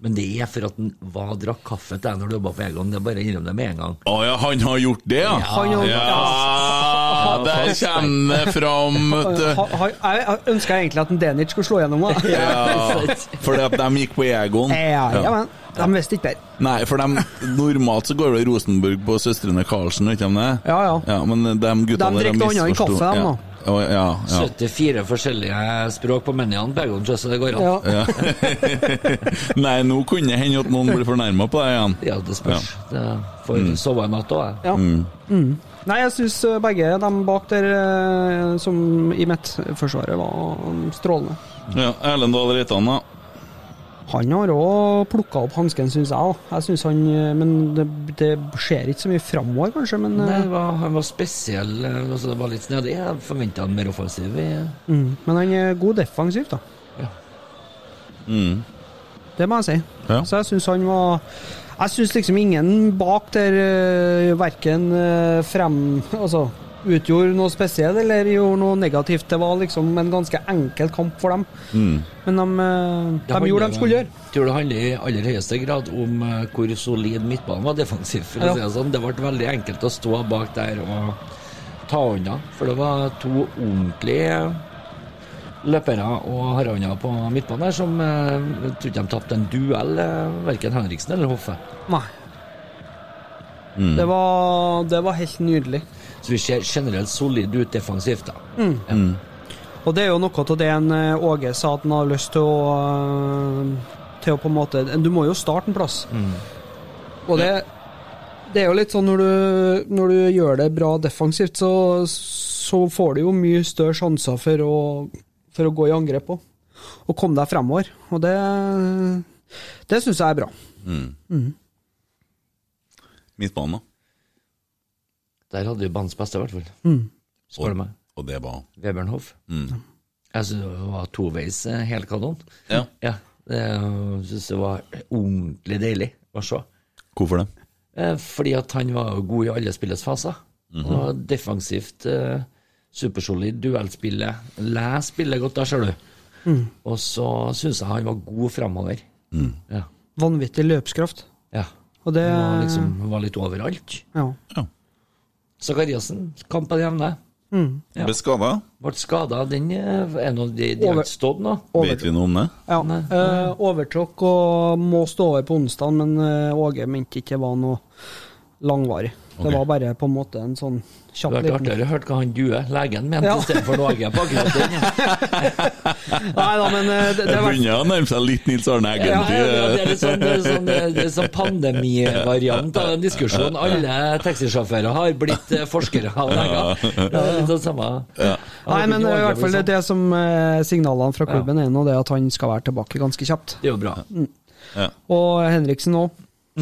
Speaker 4: Men det er for at han var drakk kaffe til deg når du jobba på Egon. Det er bare å innrømme det med en gang.
Speaker 1: Å ja, han har gjort det, ja?
Speaker 2: Han har gjort det,
Speaker 1: Ja, der kommer det fram, vet du.
Speaker 2: eh, Ha- ha- Jeg jeg ønsker egentlig at en Denic skulle slå gjennom. da.
Speaker 1: Ja, fordi at de gikk på Egon.
Speaker 2: Ja, ja, men de visste ikke bedre.
Speaker 1: Nei, for de, normalt så går det Rosenborg på søstrene Karlsen, vet du om det?
Speaker 2: Ja, ja.
Speaker 1: men de guttene
Speaker 2: De
Speaker 1: der,
Speaker 2: drikker noe annet enn
Speaker 1: misforsto-
Speaker 2: kaffe, de,
Speaker 1: ja.
Speaker 2: nå.
Speaker 1: Å, Ja, ja.
Speaker 4: 74 forskjellige språk på menyene på Egon, så det går an.
Speaker 2: Ja.
Speaker 1: Ja. Nei, nå kunne det hende at noen blir fornærma på deg igjen.
Speaker 4: Ja, det spørs. Det får sove i natt òg, jeg.
Speaker 2: Ja. Mm. Nei, jeg syns begge de bak der eh, som i midtforsvaret var mm, strålende.
Speaker 1: Ja, Erlend Dahl Reitan, da.
Speaker 2: Han har òg plukka opp hansken, syns jeg. da. Jeg synes han, eh, Men det, det skjer ikke så mye framover, kanskje. Men eh,
Speaker 4: Nei, det var, han var spesiell. eh, Altså, det var litt snedig. Jeg forventa han mer offensiv. i- eh.
Speaker 2: mm, men han er god defensivt, da.
Speaker 4: Ja.
Speaker 2: Det må jeg si.
Speaker 1: Ja.
Speaker 2: Så jeg syns han var Jeg syns liksom ingen bak der eh, verken eh, frem Altså utgjorde noe spesielt eller gjorde noe negativt. Det var liksom en ganske enkel kamp for dem. Men de, eh,
Speaker 4: Det handler
Speaker 2: de gjorde det
Speaker 4: vel-
Speaker 2: de skulle gjøre.
Speaker 4: Tror det handler i aller høyeste grad om eh, hvor solid midtbanen var defensiv. For
Speaker 2: Ja.
Speaker 4: å si det sånn. Det ble veldig enkelt å stå bak der og ta unna. For det var to ordentlige løpere og harander på midtbanen her som eh, jeg tror ikke de tapte en duell, eh, verken Henriksen eller Hoffe.
Speaker 2: Nei. Det, var, det var helt nydelig.
Speaker 4: Så vi ser generelt solid ut defensivt, da.
Speaker 2: Og det er jo noe av det en eh, Åge sa at han har lyst til å eh, Til å på en måte Du må jo starte en plass.
Speaker 4: Mm.
Speaker 2: Og det Det er jo litt sånn når du, når du gjør det bra defensivt, så, så får du jo mye større sjanser for å, for å gå i angrep òg. Og komme deg fremover. Og det Det syns jeg er bra.
Speaker 1: Midtbanen, da.
Speaker 4: Der hadde vi banens beste, i hvert fall. Spør du meg.
Speaker 1: Og det var
Speaker 4: Vebjørn Hoff. Jeg syns det var toveis eh, hel kanon.
Speaker 1: Ja.
Speaker 4: Ja, det, jeg synes det var ordentlig deilig å se.
Speaker 1: Hvorfor det?
Speaker 4: Eh, Fordi at han var jo god i alle spillets faser. Og defensivt, eh, supersolid, duellspillet. Les spillet godt, da, ser du.
Speaker 2: Mm.
Speaker 4: Og så syns jeg han var god framover. Ja.
Speaker 2: Vanvittig løpskraft.
Speaker 4: ja.
Speaker 2: Og det
Speaker 4: Han var, liksom, var litt overalt.
Speaker 2: Ja.
Speaker 4: Zakariassen, kamp på det jevne. Ja.
Speaker 1: Ble skada?
Speaker 4: Ble skada, den eh, er nå De, de har
Speaker 2: Over-
Speaker 4: ikke stått nå.
Speaker 2: Over,
Speaker 1: Vet vi noe om det?
Speaker 2: Ja, eh, overtråkk og må stå over på onsdag, men eh, Åge mente ikke det var noe langvarig.
Speaker 1: Ok.
Speaker 2: Det var bare på en måte en sånn
Speaker 4: Det
Speaker 2: kjapp
Speaker 4: hadde vært
Speaker 2: liten
Speaker 4: artigere å høre hva han Due, legen, mente
Speaker 2: Ja.
Speaker 4: istedenfor Norge på akkurat den.
Speaker 2: Nei da, men eh, det, det
Speaker 1: Det
Speaker 2: er verdt
Speaker 1: begynner å nærme seg litt Nils Arne Eggen.
Speaker 4: Ja, ja, ja, det er litt sånn, det er sånn, det er sånn pandemivariant av den diskusjonen. Alle taxisjåfører har blitt eh, forskere av leger. Ja, Det er litt sånn samme.
Speaker 2: Nei, men eh, i hvert fall det,
Speaker 4: sånn.
Speaker 2: det som eh, signalene fra klubben er nå, det er at han skal være tilbake ganske kjapt.
Speaker 4: Det er jo bra.
Speaker 2: Og Henriksen òg.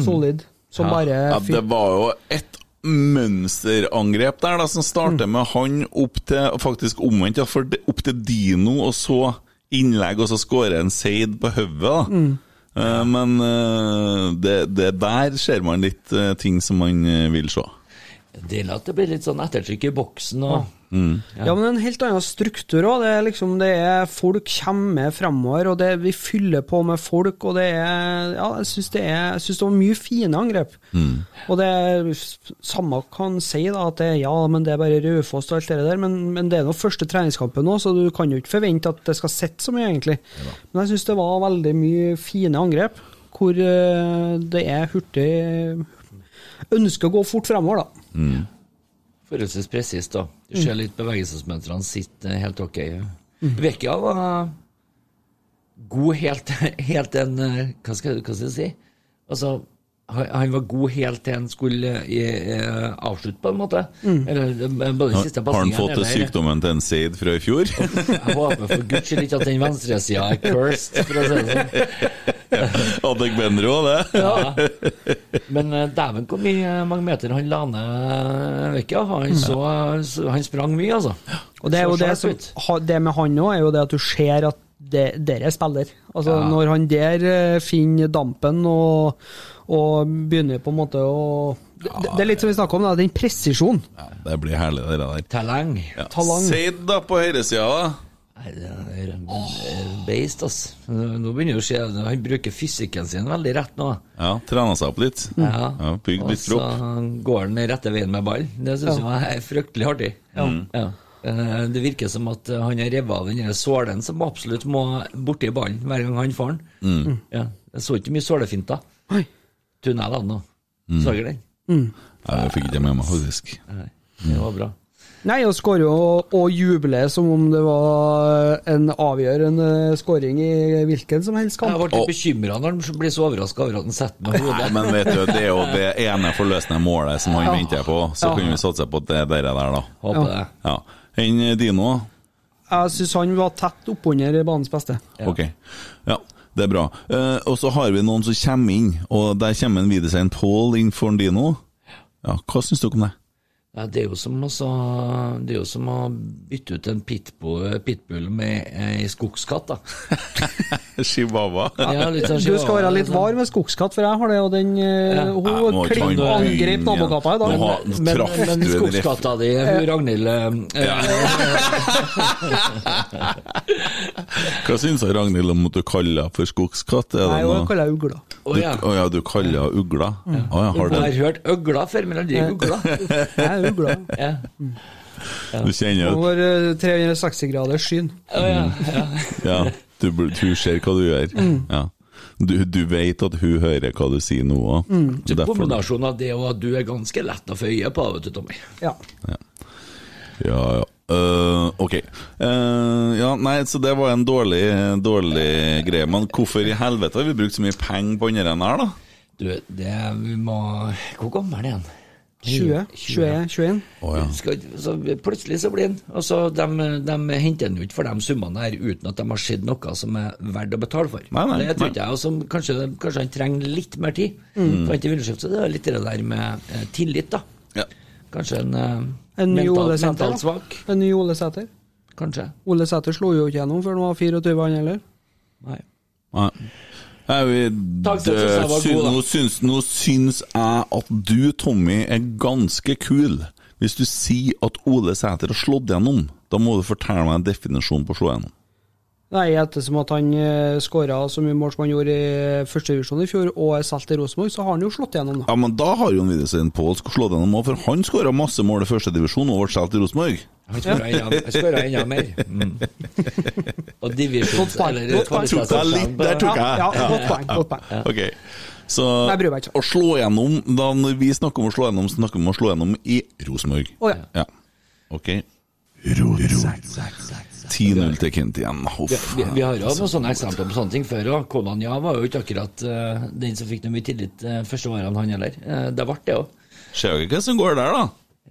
Speaker 2: Solid. Som bare
Speaker 1: Mm. Ja, det
Speaker 2: fikk
Speaker 1: var jo et mønsterangrep der, da, som
Speaker 4: Mm.
Speaker 1: starter med han opp til Faktisk omvendt, ja, for det- opp til Dino, og så innlegg, og så skårer en Seid på hodet, da.
Speaker 4: Mm.
Speaker 1: Eh, Men eh, det, det der ser man litt eh, ting som man eh, vil se.
Speaker 4: Deilig at det blir litt sånn ettertrykk i boksen og
Speaker 2: Ja, men en helt annen struktur òg. Det er liksom det er Folk kommer fremover, og det, vi fyller på med folk, og det er Ja, jeg syns det er Jeg synes det var mye fine angrep. Og det er Samme kan si da at det er ja, men det er bare Raufoss og alt det der, men, men det er nå første treningskampen nå, så du kan jo ikke forvente at det skal sitte så mye, egentlig. Men jeg syns det var veldig mye fine angrep, hvor eh, det er hurtig Ønsker å gå fort fremover, da.
Speaker 4: forholdsvis presist. da. Du
Speaker 2: Mm.
Speaker 4: ser litt bevegelsesmønstrene sitt eh, helt ok. Vekka var god helt, helt til en eh, Hva skal, hva skal jeg si? Altså, han han var god helt til han skulle eh, eh, avslutte, på en måte.
Speaker 2: Mm.
Speaker 4: Eller eh, både den siste
Speaker 1: Har han
Speaker 4: passingen
Speaker 1: fått
Speaker 4: eller-
Speaker 1: sykdommen til en Seid fra i fjor?
Speaker 4: Jeg håper for guds skyld ikke at den venstresida er cursed, for å si det sånn.
Speaker 1: Adegbenro, det.
Speaker 4: Ja. Men eh, dæven hvor mye eh, mange meter han la ned Vekka. Han, eh, så- så- han sprang mye, altså.
Speaker 2: Mm. Og det er
Speaker 4: Så
Speaker 2: jo det
Speaker 4: sharp
Speaker 2: som
Speaker 4: ut.
Speaker 2: ha- Det med han òg er jo det at du ser at det, der er spiller. Altså, Når han der eh, finner dampen og, og begynner på en måte å det, det er litt som vi snakka om, da, den presisjonen.
Speaker 1: Ja, det blir herlig, det der.
Speaker 4: Talang.
Speaker 1: Ja.
Speaker 2: Talang.
Speaker 1: Seid, da, på høyresida, da.
Speaker 4: Nei, det er en- en Beist, ass. Nå begynner det å skje. Han bruker fysikken sin veldig rett nå.
Speaker 1: Ja, trena seg opp litt. Ja, Bygd litt
Speaker 4: Og
Speaker 1: kropp.
Speaker 4: så går han den rette veien med ball. Det syns jeg er fryktelig artig.
Speaker 1: Mm.
Speaker 4: Ja. Eh, Det virker som at eh, han har revet av den der sålen som absolutt må borti ballen hver gang han får den.
Speaker 1: Mm.
Speaker 4: Ja. Jeg så ikke mye sålefinter.
Speaker 2: Oi.
Speaker 4: Tunnelene nå.
Speaker 1: Mm.
Speaker 4: Så dere den?
Speaker 1: Nei, det fikk ikke jeg med meg, faktisk.
Speaker 4: Nei. Det var bra.
Speaker 2: Nei, og skårer jo og jubler som om det var eh, en avgjørende skåring i hvilken som helst
Speaker 4: Jeg
Speaker 2: kamp.
Speaker 4: ble litt bekymra når han blir så overraska over at han setter med
Speaker 1: Nei,
Speaker 4: hodet.
Speaker 1: men vet du, det er jo det ene forløsende målet som han venter på. Så
Speaker 2: Ja.
Speaker 1: kan vi satse på det der, der da.
Speaker 4: Håper det.
Speaker 1: Ja. Enn Dino? da?
Speaker 2: Jeg syns han var tett oppunder banens beste.
Speaker 4: Ja.
Speaker 1: Ok. Ja, det er bra. Eh, og så har vi noen som kommer inn, og der kommer en Widersein Pål inn for Dino. Ja, hva syns dere om det?
Speaker 4: Ja, det, er jo som å sa- det er jo som å bytte ut en pitbull, pitbull med ei skogskatt, da.
Speaker 1: Chihuahua.
Speaker 4: Ja, litt sånn
Speaker 2: Du skal
Speaker 4: chihuahua,
Speaker 2: være litt
Speaker 4: sånn.
Speaker 2: var med skogskatt, for jeg har det, og den eh,
Speaker 1: Ja,
Speaker 2: Hun
Speaker 1: nå kan
Speaker 2: kling-
Speaker 1: du begynne
Speaker 2: angrep
Speaker 1: igjen.
Speaker 2: nabokappa i dag.
Speaker 1: Nå har-
Speaker 2: Men-
Speaker 4: Men,
Speaker 1: Traff
Speaker 4: men
Speaker 1: du en
Speaker 4: skogskatta di, hun Ragnhild eh,
Speaker 1: Hva syns jeg, Ragnhild om at du kaller henne for skogskatt? Er
Speaker 2: Nei,
Speaker 1: det
Speaker 2: jo, jeg
Speaker 1: noe?
Speaker 2: kaller jeg ugla.
Speaker 4: Å
Speaker 1: Du,
Speaker 4: ja.
Speaker 1: å ja, du kaller henne ugla? Å ja, har
Speaker 4: Jeg har
Speaker 1: du,
Speaker 4: hørt øgla før, men aldri ugla.
Speaker 2: Jeg er ugla.
Speaker 4: Ja.
Speaker 1: du kjenner
Speaker 2: Over 360 graders skyn.
Speaker 4: Å ja,
Speaker 1: Mm.
Speaker 4: ja.
Speaker 1: Ja, du, bl- du ser hva du gjør. Ja. Du, du vet at hun hører hva du sier nå òg.
Speaker 4: Så kombinasjonen av det og at du er ganske lett å få øye på, vet du, Tommy.
Speaker 2: Ja.
Speaker 1: Ja, ja. Eh, ok. Eh, ja, nei, så det var en dårlig, dårlig greie. Men hvorfor i helvete har vi brukt så mye penger på den her, da?
Speaker 4: Du, det vi må Hvor gammel er han?
Speaker 2: 20, 21, 21.
Speaker 1: Å ja.
Speaker 4: Skal, så plutselig så blir han Og så de, de henter han ut for de summene her uten at de har sett noe som er verdt å betale for.
Speaker 1: Nei, nei,
Speaker 4: det tror
Speaker 1: nei. Mm.
Speaker 4: ikke jeg, og som kanskje, kanskje han trenger litt mer tid. For han ikke vil skifte, så det er litt det der med eh, tillit, da.
Speaker 1: ja.
Speaker 4: Kanskje en, eh,
Speaker 2: En ny Ole
Speaker 4: mentalt,
Speaker 2: Sæter.
Speaker 4: mentalt
Speaker 2: da.
Speaker 4: svak.
Speaker 2: En ny Ole Sæter.
Speaker 4: Kanskje.
Speaker 2: Ole Sæter slo jo ikke gjennom før han var 24, han heller.
Speaker 4: Nei.
Speaker 1: Nei. Nei, vi,
Speaker 4: Takk, jeg synes jeg var
Speaker 1: syn-
Speaker 4: god, da.
Speaker 1: nå, syns, nå syns jeg at du, Tommy, er ganske kul. Hvis du sier at Ole Sæter har slått gjennom, da må du fortelle meg en definisjon på å slå gjennom.
Speaker 2: Nei, ettersom at han uh, skåra så mye mål som han gjorde i eh, første divisjon i fjor, og er solgt til Rosenborg, så har han jo slått gjennom, da.
Speaker 1: Ja, men da har Jon Widersen Pål slått gjennom òg, for han skåra masse mål i første divisjon og ble solgt til Rosenborg.
Speaker 4: Han skåra enda, han skårer enda mer. Mm. Og divisjon
Speaker 2: Godt poeng, godt poeng.
Speaker 1: Tok deg litt, der tok jeg.
Speaker 2: Ja, ja, godt poeng. godt poeng.
Speaker 1: Ok, så
Speaker 2: Jeg bryr meg ikke.
Speaker 1: å slå gjennom da Når vi snakker om å slå gjennom, så snakker vi om å slå gjennom i Rosenborg.
Speaker 2: Å ja.
Speaker 1: Ja. Ok. 10-0 til Kent igjen.
Speaker 4: Vi,
Speaker 1: Huff.
Speaker 4: vi, vi har jo hatt noen sånne eksempler på sånne ting før òg. Konanja var jo ikke akkurat eh, den som fikk noe mye tillit eh, første årene, han heller. Eh, det ble det òg.
Speaker 1: Ser dere hva som går der, da?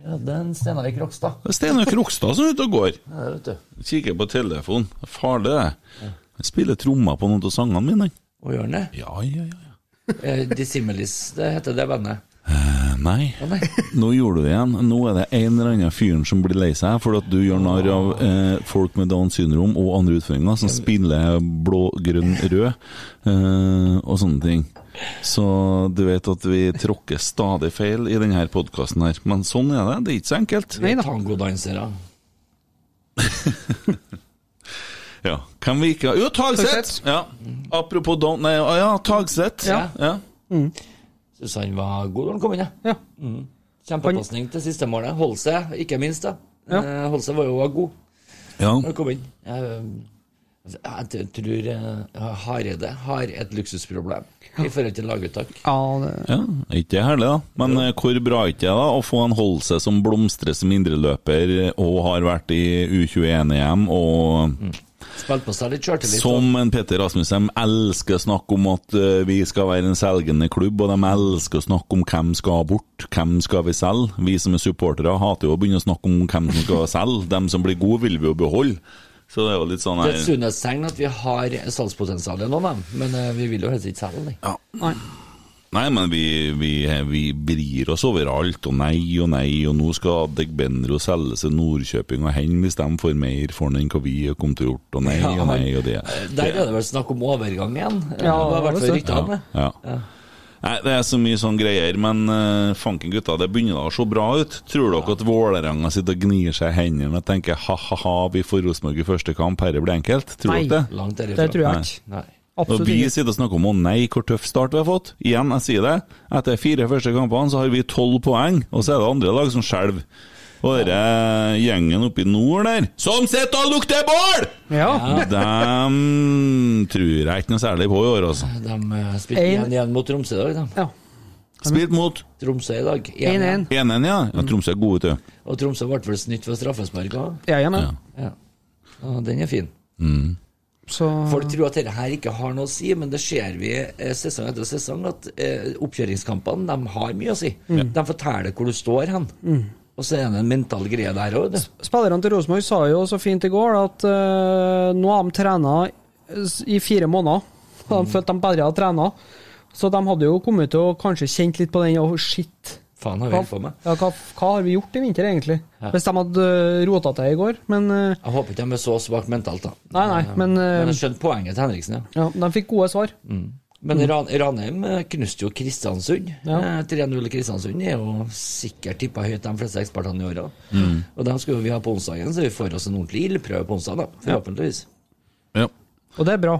Speaker 4: Ja, det er en Steinar Krokstad.
Speaker 1: Det er Steinar Krokstad som er ute og går.
Speaker 4: Ja, det vet du.
Speaker 1: Kikker på telefonen. Det er Farlig, det. Han spiller trommer på noen av sangene mine.
Speaker 4: Og gjør han det?
Speaker 1: Ja, ja, ja. ja.
Speaker 4: Eh, Dissimilis, det heter det bandet.
Speaker 1: Eh, Nei.
Speaker 4: Å nei.
Speaker 1: Nå gjorde du det igjen. Nå er det en eller annen fyren som blir lei seg fordi at du gjør narr av eh, folk med Downs syndrom og andre utfordringer som spiller blå, grønn, rød eh, og sånne ting. Så du vet at vi tråkker stadig feil i denne podkasten her. Men sånn er det. Det er ikke så enkelt.
Speaker 2: Nei da.
Speaker 4: Tangodansere.
Speaker 1: Ja. Hvem vi ikke har Jo, Tagseth!
Speaker 2: Tagseth.
Speaker 1: Ja. Apropos Down... Nei, ah, ja, Tagseth.
Speaker 2: Ja.
Speaker 1: ja.
Speaker 4: Syns han var god da han kom inn, jeg.
Speaker 2: Ja.
Speaker 4: Kjempepasning til siste målet. Holdt seg, ikke minst. da.
Speaker 2: Ja.
Speaker 4: Eh, Holdt seg var jo også god.
Speaker 1: ja.
Speaker 4: Når han kom inn. Jeg, jeg t- tror eh, Hareide har et luksusproblem i forhold til laguttak.
Speaker 2: ja det,
Speaker 1: Ja, er ikke det herlig, da? Men eh, hvor bra er ikke det da å få en Holse som blomstrer som indreløper eh, og har vært i U21-EM, og
Speaker 4: Spilte på seg Mm. litt sånn. sjøltillit.
Speaker 1: som en Petter Rasmussen elsker å snakke om at eh, vi skal være en selgende klubb, og de elsker å snakke om hvem skal bort, hvem skal vi selge? Vi som er supportere hater jo å begynne å snakke om hvem som skal selge, dem som blir gode vil vi jo beholde. Så det er jo litt sånn her
Speaker 4: Det er et sunnhetstegn at vi har salgspotensial i noen av dem, men eh, vi vil jo helst ikke selge dem.
Speaker 1: ja.
Speaker 2: nei.
Speaker 1: Nei, men vi, vi, vi vrir oss over alt, og nei og nei, og nå skal Degbenro selges til Nordkjøping, og hen bestemmer for mer for den enn hva vi kom til å gjort, og nei og nei og det.
Speaker 4: Der er Eh, det vel snakk om overgang igjen.
Speaker 2: Ja,
Speaker 4: det var i hvert fall
Speaker 2: det
Speaker 4: rykter om det.
Speaker 1: Ja. Nei, det er så mye sånn greier, men eh, fanken gutta, det begynner da å se bra ut. Tror dere at Vålerenga sitter og gnir seg i hendene og tenker ha-ha-ha, vi får Rosenborg i første kamp, herre blir enkelt? Tror
Speaker 2: Nei.
Speaker 1: dere det?
Speaker 4: Langt derifra.
Speaker 2: Det tror jeg
Speaker 1: Nei.
Speaker 2: ikke.
Speaker 4: Nei.
Speaker 1: Når
Speaker 2: Absolutt
Speaker 1: vi
Speaker 2: ikke.
Speaker 1: sitter og snakker om å nei, hvor tøff start vi har fått Igjen, jeg sier det. Etter fire første kampene så har vi tolv poeng, og så er det andre lag som skjelver. Og denne gjengen oppe i nord der, som sitter og lukter bål!
Speaker 2: Ja.
Speaker 1: Dem tror jeg ikke noe særlig på i år, altså.
Speaker 4: De eh, spilte
Speaker 2: En-
Speaker 4: igjen, igjen mot Tromsø i dag, da.
Speaker 2: ja.
Speaker 1: Spilt mot
Speaker 4: Tromsø i dag.
Speaker 2: 1-1.
Speaker 1: 1-1, ja. ja. Tromsø er gode, vet du.
Speaker 4: Og Tromsø ble vel snytt for straffespark også.
Speaker 2: Jeg er med.
Speaker 4: Ja. Og den er fin.
Speaker 2: Så
Speaker 4: Folk tror at dette her ikke har noe å si, men det ser vi eh, sesong etter sesong at eh, oppkjøringskampene de har mye å si.
Speaker 2: Mm.
Speaker 4: De forteller hvor du står hen. Og så er det en mental greie der òg.
Speaker 2: Spillerne til Rosenborg sa jo så fint i går at eh, nå har de trena i fire måneder. Da de følte de bare hadde trena. Så de hadde jo kommet til å kanskje kjent litt på den oh, shit.
Speaker 4: Faen, har vi
Speaker 2: Hva,
Speaker 4: holdt på med?
Speaker 2: ja, hva, hva har vi gjort i vinter, egentlig? Hvis de hadde uh, rota til i går. Men, eh,
Speaker 4: Jeg håper ikke de er så svake mentalt, da.
Speaker 2: nei, nei, men, eh,
Speaker 4: Men jeg skjønner poenget til Henriksen, ja.
Speaker 2: ja, de fikk gode svar.
Speaker 4: Men Ran Ranheim eh, knuste jo Kristiansund.
Speaker 2: Mm. Ja.
Speaker 4: Eh, 3-0 i Kristiansund er jo sikkert tippa høyt, de fleste ekspertene i åra.
Speaker 1: Mm.
Speaker 4: Og dem skal jo vi ha på onsdagen, så vi får oss en ordentlig ildprøve på onsdag, da. Forhåpentligvis.
Speaker 1: Ja.
Speaker 2: Og det er bra.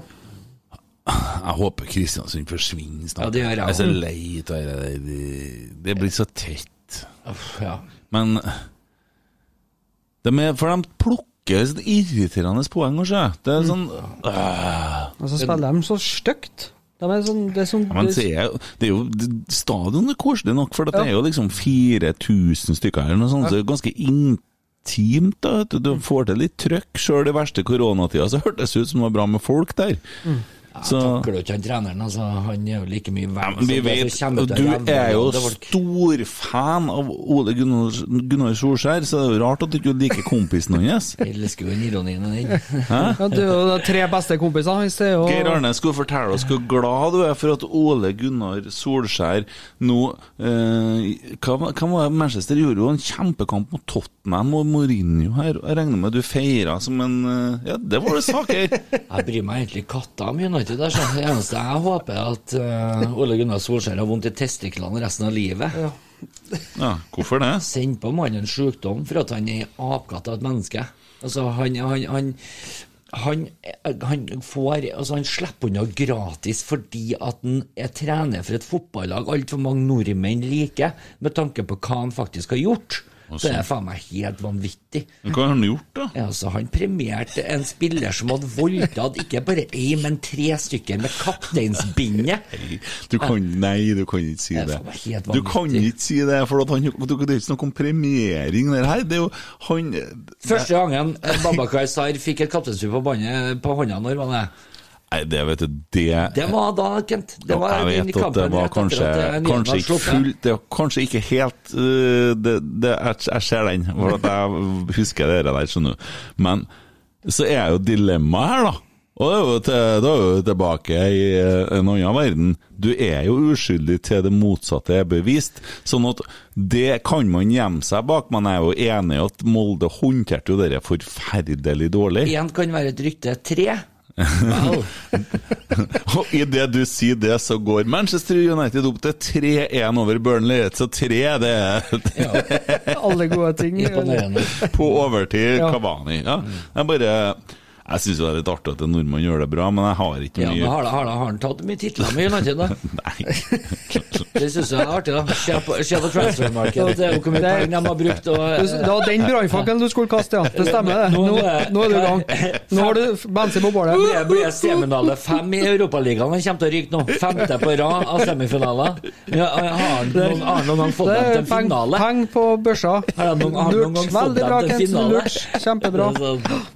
Speaker 1: Jeg håper Kristiansund forsvinner snart.
Speaker 4: Ja, det gjør
Speaker 1: er
Speaker 4: jeg
Speaker 1: så
Speaker 4: også.
Speaker 1: lei av det der. Det- Det blir så tett.
Speaker 4: Uff, ja.
Speaker 1: Men de er, For de plukker sånn irriterende poeng, kanskje. Det er sånn øh.
Speaker 2: Og så Altså, spiller de så stygt. De er sånn, det er sånn
Speaker 1: Ja, Men se, det er jo det- Stadion er koselig nok, for at det
Speaker 2: Ja.
Speaker 1: er jo liksom 4000 stykker her, eller noe sånt, så det er ganske intimt. da, vet du. Du får til litt trøkk. Sjøl i verste koronatida så hørtes det ut som det var bra med folk der. Så
Speaker 4: Takler jo ikke han treneren, altså. Han Altså, er jo like mye
Speaker 1: Ja,
Speaker 4: verdt
Speaker 1: men vi vet, Du er jo stor fan av Ole Gunnar, Gunnar Solskjær, så det er jo rart at du ikke liker kompisen hans.
Speaker 4: Jeg elsker jo den ironien i den.
Speaker 2: Ja, det er jo de tre beste kompisene. Hvis det er jo,
Speaker 1: Geir Arne skulle fortelle oss hvor glad du er for at Ole Gunnar Solskjær nå eh, hva, var- hva var det Manchester gjorde jo en kjempekamp mot Tottenham og Mourinho her. og Jeg regner med du feira som en eh, Ja, det var det saker!
Speaker 4: Jeg bryr meg egentlig katta om United. Der, så. Det eneste jeg håper, er at eh, Ole Gunnar Solskjær har vondt i testiklene resten av livet.
Speaker 1: Ja, hvorfor det?
Speaker 4: Send på mannen sykdom for at han er apekatt av et menneske. Altså, han, han, han han, han, får, altså han slipper unna gratis fordi at han er trener for et fotballag altfor mange nordmenn liker, med tanke på hva han faktisk har gjort. Så det er faen meg helt vanvittig.
Speaker 1: Men Hva har han gjort, da?
Speaker 4: Ja, altså, han premierte en spiller som hadde voldtatt ikke bare én, men tre stykker med kapteinsbindet.
Speaker 1: Du kan, nei, du kan ikke si
Speaker 4: Det er
Speaker 1: det.
Speaker 4: faen meg helt
Speaker 1: Du kan
Speaker 4: vanvittig.
Speaker 1: ikke si det, for at han, du, det er ikke snakk om premiering der her. Det er jo han eh,
Speaker 4: Første gangen Babakar Sar fikk et kapteinsbud på, båndet- på hånda, når var det?
Speaker 1: Nei, det vet du, det,
Speaker 4: Det var da, Kent. Det var
Speaker 1: Jeg
Speaker 4: den
Speaker 1: vet at det
Speaker 4: kampen
Speaker 1: var
Speaker 4: rett etter
Speaker 1: kanskje,
Speaker 4: at, eh, Nyland
Speaker 1: kanskje
Speaker 4: hadde
Speaker 1: ikke
Speaker 4: sluppet.
Speaker 1: fullt Det er kanskje ikke helt øh, det, det, jeg, jeg ser den, for at jeg husker det der, skjønner du. Men så er jo dilemmaet her, da. Og det er jo til, da er jo tilbake i eh, en annen verden. Du er jo uskyldig til det motsatte er bevist. Sånn at det kan man gjemme seg bak. Man er jo enig i at Molde håndterte jo dette forferdelig dårlig.
Speaker 4: Én kan være et rykte. Tre Wow.
Speaker 1: Og idet du sier det, så går Manchester United opp til 3-1 over Burnley. Så 3 det er
Speaker 2: Alle gode ting.
Speaker 4: Imponerende.
Speaker 1: på overtid
Speaker 2: Ja.
Speaker 1: Kavani. Ja. Jeg bare Jeg syns det er litt artig at en nordmann gjør det bra, men jeg har ikke
Speaker 4: Ja, men
Speaker 1: mye
Speaker 4: har, da- har, da- har han tatt mye titler med United, da?
Speaker 1: Nei.
Speaker 4: Det syns jeg er artig, da. Se på, se på transfer market, det er jo hvor mye
Speaker 2: Det-
Speaker 4: penger de har brukt. Og, eh,
Speaker 2: Du- Det var den brannfakkelen du skulle kaste, ja. Det stemmer, det.
Speaker 4: Nå-
Speaker 2: Nå, nå er du i gang. Nå har du bensin på bålet.
Speaker 4: det blir seminale fem i Europaligaen. Han kommer til å ryke nå. Femte på rad av semifinaler. Ja, har han noen, har han noen gang fått
Speaker 2: Det
Speaker 4: dem til
Speaker 2: er
Speaker 4: en
Speaker 2: peng,
Speaker 4: finale?
Speaker 2: peng på børsa.
Speaker 4: Har de noen- har de noen gang
Speaker 2: Lurt.
Speaker 4: fått
Speaker 2: Veldig
Speaker 4: dem
Speaker 2: bra,
Speaker 4: til
Speaker 2: Kent.
Speaker 4: finale? sånn-
Speaker 2: Lurt. Kjempebra.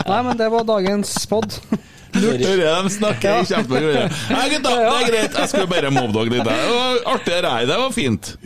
Speaker 2: Nei, men det var dagens pod.
Speaker 1: Hører jeg dem snakke i kjempegøy. Nei, gutta, det er greit. Jeg skulle bare mobbe dere litt. der. Det var artig å reie. Det var fint.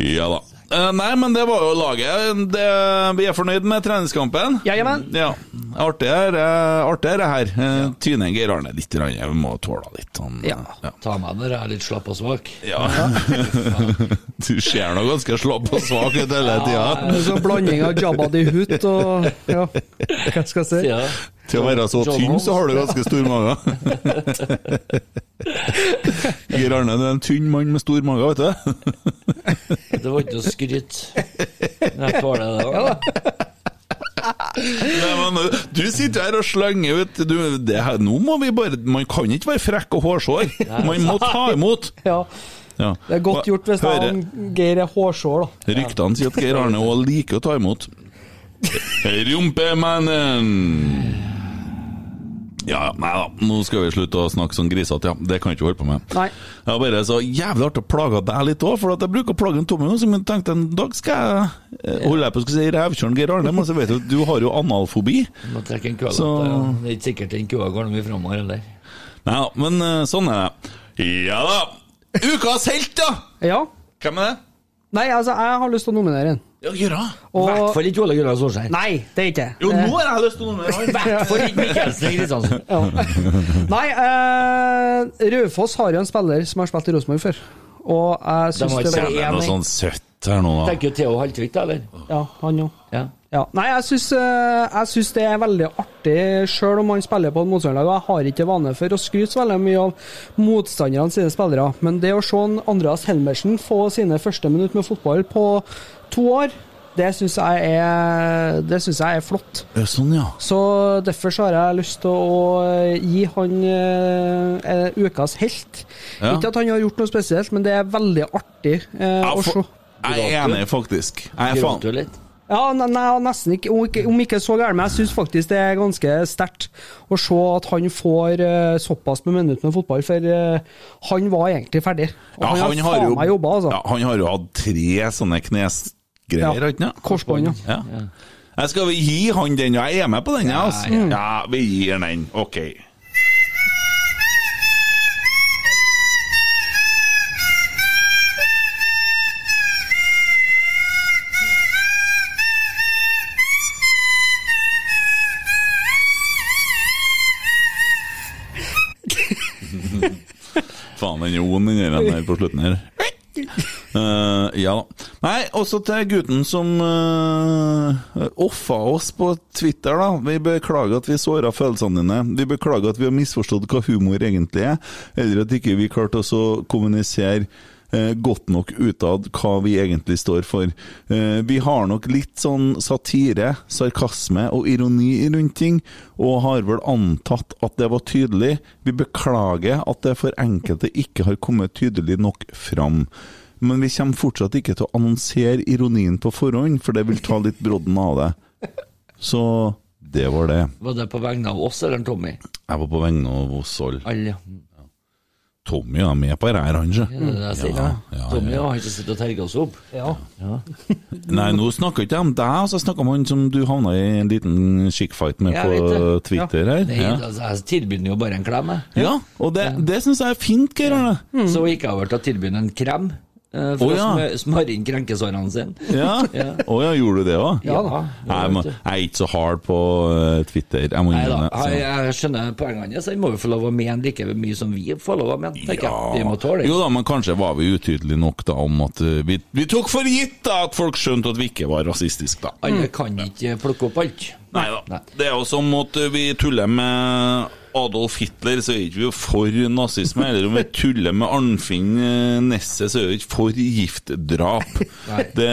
Speaker 1: Ja da. Eh, nei, men det var jo laget. Det, vi er fornøyd med treningskampen.
Speaker 2: Ja, jamen.
Speaker 1: Ja. Artig er eh, artig er det her. Uh, Tyne Geir Arne litt. grann. Jeg må tåle litt. Han,
Speaker 2: Ja.
Speaker 1: ja.
Speaker 4: Ta meg når jeg er litt slapp og svak.
Speaker 1: Ja. du ser nå ganske slapp og svak ut hele tida.
Speaker 2: Så sånn blanding av Jabba de Hutt og ja, hva skal jeg si?
Speaker 4: Ja.
Speaker 1: Til å være så
Speaker 4: John
Speaker 1: tynn,
Speaker 4: Holmes.
Speaker 1: så har du ganske stor mage. Geir Arne du er en tynn mann med stor mage, vet du.
Speaker 4: Det var ikke noe skryt. Jeg tåler det. da.
Speaker 1: Nei, men, du sitter her og slenger ut du, det her, Nå må vi bare Man kan ikke være frekk og hårsår. Man må ta imot.
Speaker 2: Ja,
Speaker 1: Ja.
Speaker 2: altså. det er godt gjort hvis
Speaker 1: Hører-
Speaker 2: han Geir er hårsår, da.
Speaker 1: Ryktene sier at Geir Arne òg liker å ta imot. Rumpemannen! Ja, ja, nei da, nå skal vi slutte å snakke sånn grisete, ja. Det kan jeg ikke holde på med.
Speaker 2: Nei.
Speaker 1: Jeg var bare så jævlig artig å plage deg litt òg, for at jeg bruker å plage en Tommy nå, som jeg tenkte en dag skal jeg eh, holde jeg på å si revkjøren Geir Arne, men så vet du at du har jo analfobi.
Speaker 4: Må trekke en køla
Speaker 1: Så-
Speaker 4: opp der, ja. Det er ikke sikkert den køa går noe mye framover heller.
Speaker 1: Nei da, men eh, sånn er det. Ja da! Ukas helt, da!
Speaker 2: Ja.
Speaker 1: Hvem er det?
Speaker 2: Nei, altså, jeg har lyst til å nominere en.
Speaker 1: Ja, Gjøra.
Speaker 4: I
Speaker 2: Og
Speaker 4: hvert fall ikke Ole Gunnar Solskjær.
Speaker 2: Nei, det er ikke det.
Speaker 1: Jo, nå har jeg lyst til å nominere
Speaker 4: I hvert fall ikke Mikkelsen Kristiansen.
Speaker 2: Ja. Nei, eh, Raufoss har jo en spiller som har spilt i Rosenborg før. Og jeg syns
Speaker 4: De har
Speaker 2: det
Speaker 4: ikke
Speaker 2: var
Speaker 4: sett
Speaker 1: Det er noe sånn søtt her nå, da.
Speaker 4: Tenker jo Theo Haltvik, da, eller?
Speaker 2: Ja, han òg.
Speaker 4: Ja.
Speaker 2: Ja. Nei, jeg syns, eh, jeg syns det er veldig artig, sjøl om han spiller på et motstanderlag. og Jeg har ikke vane for å skryte så veldig mye av motstanderne sine spillere, men det å se en Andreas Helmersen få sine første minutt med fotball på to år, det syns jeg er, det synes jeg er flott.
Speaker 1: Ja, Sånn, ja.
Speaker 2: Så derfor så har jeg lyst til å eh, gi han eh, eh, ukas helt.
Speaker 1: Ja.
Speaker 2: Ikke at han har gjort noe spesielt, men det er veldig artig eh,
Speaker 1: Ja,
Speaker 2: å
Speaker 1: for-
Speaker 2: se.
Speaker 1: Jeg er enig, faktisk. Jeg er
Speaker 4: Gråter
Speaker 1: faen.
Speaker 4: jo litt.
Speaker 2: Ja, ne- nei, nesten ikke. Om ikke, om ikke så gærent, men jeg syns faktisk det er ganske sterkt å se at han får eh, såpass med minutter med fotball, for eh, han var egentlig ferdig. Og
Speaker 1: Ja,
Speaker 2: han, har faen meg jobba, altså.
Speaker 1: ja, han har jo hatt tre sånne
Speaker 2: Ja.
Speaker 1: knesgreier, har han ikke?
Speaker 2: Korsbånd, ja.
Speaker 1: Ja. Jeg skal vi gi han den, og jeg er med på den, jeg, altså.
Speaker 4: Ja,
Speaker 1: Ja, vi gir han den. Ok. Faen, den roen den gjør han her på slutten her. Eh, ja da. Nei, også til gutten som uh, offa oss på Twitter, da. Vi beklager at vi såra følelsene dine. Vi beklager at vi har misforstått hva humor egentlig er, eller at ikke vi klarte oss å kommunisere eh, godt nok utad hva vi egentlig står for. Eh, vi har nok litt sånn satire, sarkasme og ironi rundt ting, og har vel antatt at det var tydelig. Vi beklager at det for enkelte ikke har kommet tydelig nok fram. Men vi kommer fortsatt ikke til å annonsere ironien på forhånd, for det vil ta litt brodden av det. Så det var det.
Speaker 4: Var det på vegne av oss eller Tommy?
Speaker 1: Jeg var på vegne av oss alle.
Speaker 4: Alle.
Speaker 1: Tommy er med på dette, her, han,
Speaker 4: Det er det jeg sier.
Speaker 1: Ja, ja, ja.
Speaker 4: Tommy har ikke sittet og terga oss opp.
Speaker 2: Ja.
Speaker 1: Nei, nå snakker jeg ikke om deg, altså jeg snakker om han som du havna i en liten skikkfight med
Speaker 4: Jeg vet
Speaker 1: på
Speaker 4: det.
Speaker 1: Twitter her.
Speaker 4: Nei,
Speaker 1: Ja.
Speaker 4: altså, jeg tilbyr den jo bare en klem, jeg.
Speaker 1: ja, og det, det syns jeg er fint, Geir Arne.
Speaker 4: Så gikk jeg over til å tilby den en krem. eh,
Speaker 1: Mm. Å,
Speaker 4: For
Speaker 1: ja. Mm,
Speaker 4: å smø- smøre inn krenkesårene sine.
Speaker 1: Ja. Å ja, gjorde du det òg?
Speaker 2: Ja da.
Speaker 1: Jeg, må- jeg er ikke så hard på eh, Twitter, jeg må
Speaker 4: Nei da,
Speaker 1: innrømme
Speaker 4: jeg,
Speaker 1: det.
Speaker 4: jeg skjønner poengene hans. Han må jo få lov å mene like mye som vi får lov å mene. tenker jeg. Vi må tåle det.
Speaker 1: Jo da, men kanskje var vi utydelige nok da om at eh, vi, vi tok for gitt da at folk skjønte at vi ikke var rasistiske, da.
Speaker 4: Alle kan ikke plukke opp alt.
Speaker 1: Nei da. Det er jo som at eh, vi tuller med Adolf Hitler, så er ikke vi jo for nazisme. Eller om vi tuller med Arnfinn eh, Nesset, så er vi ikke for giftdrap. Det,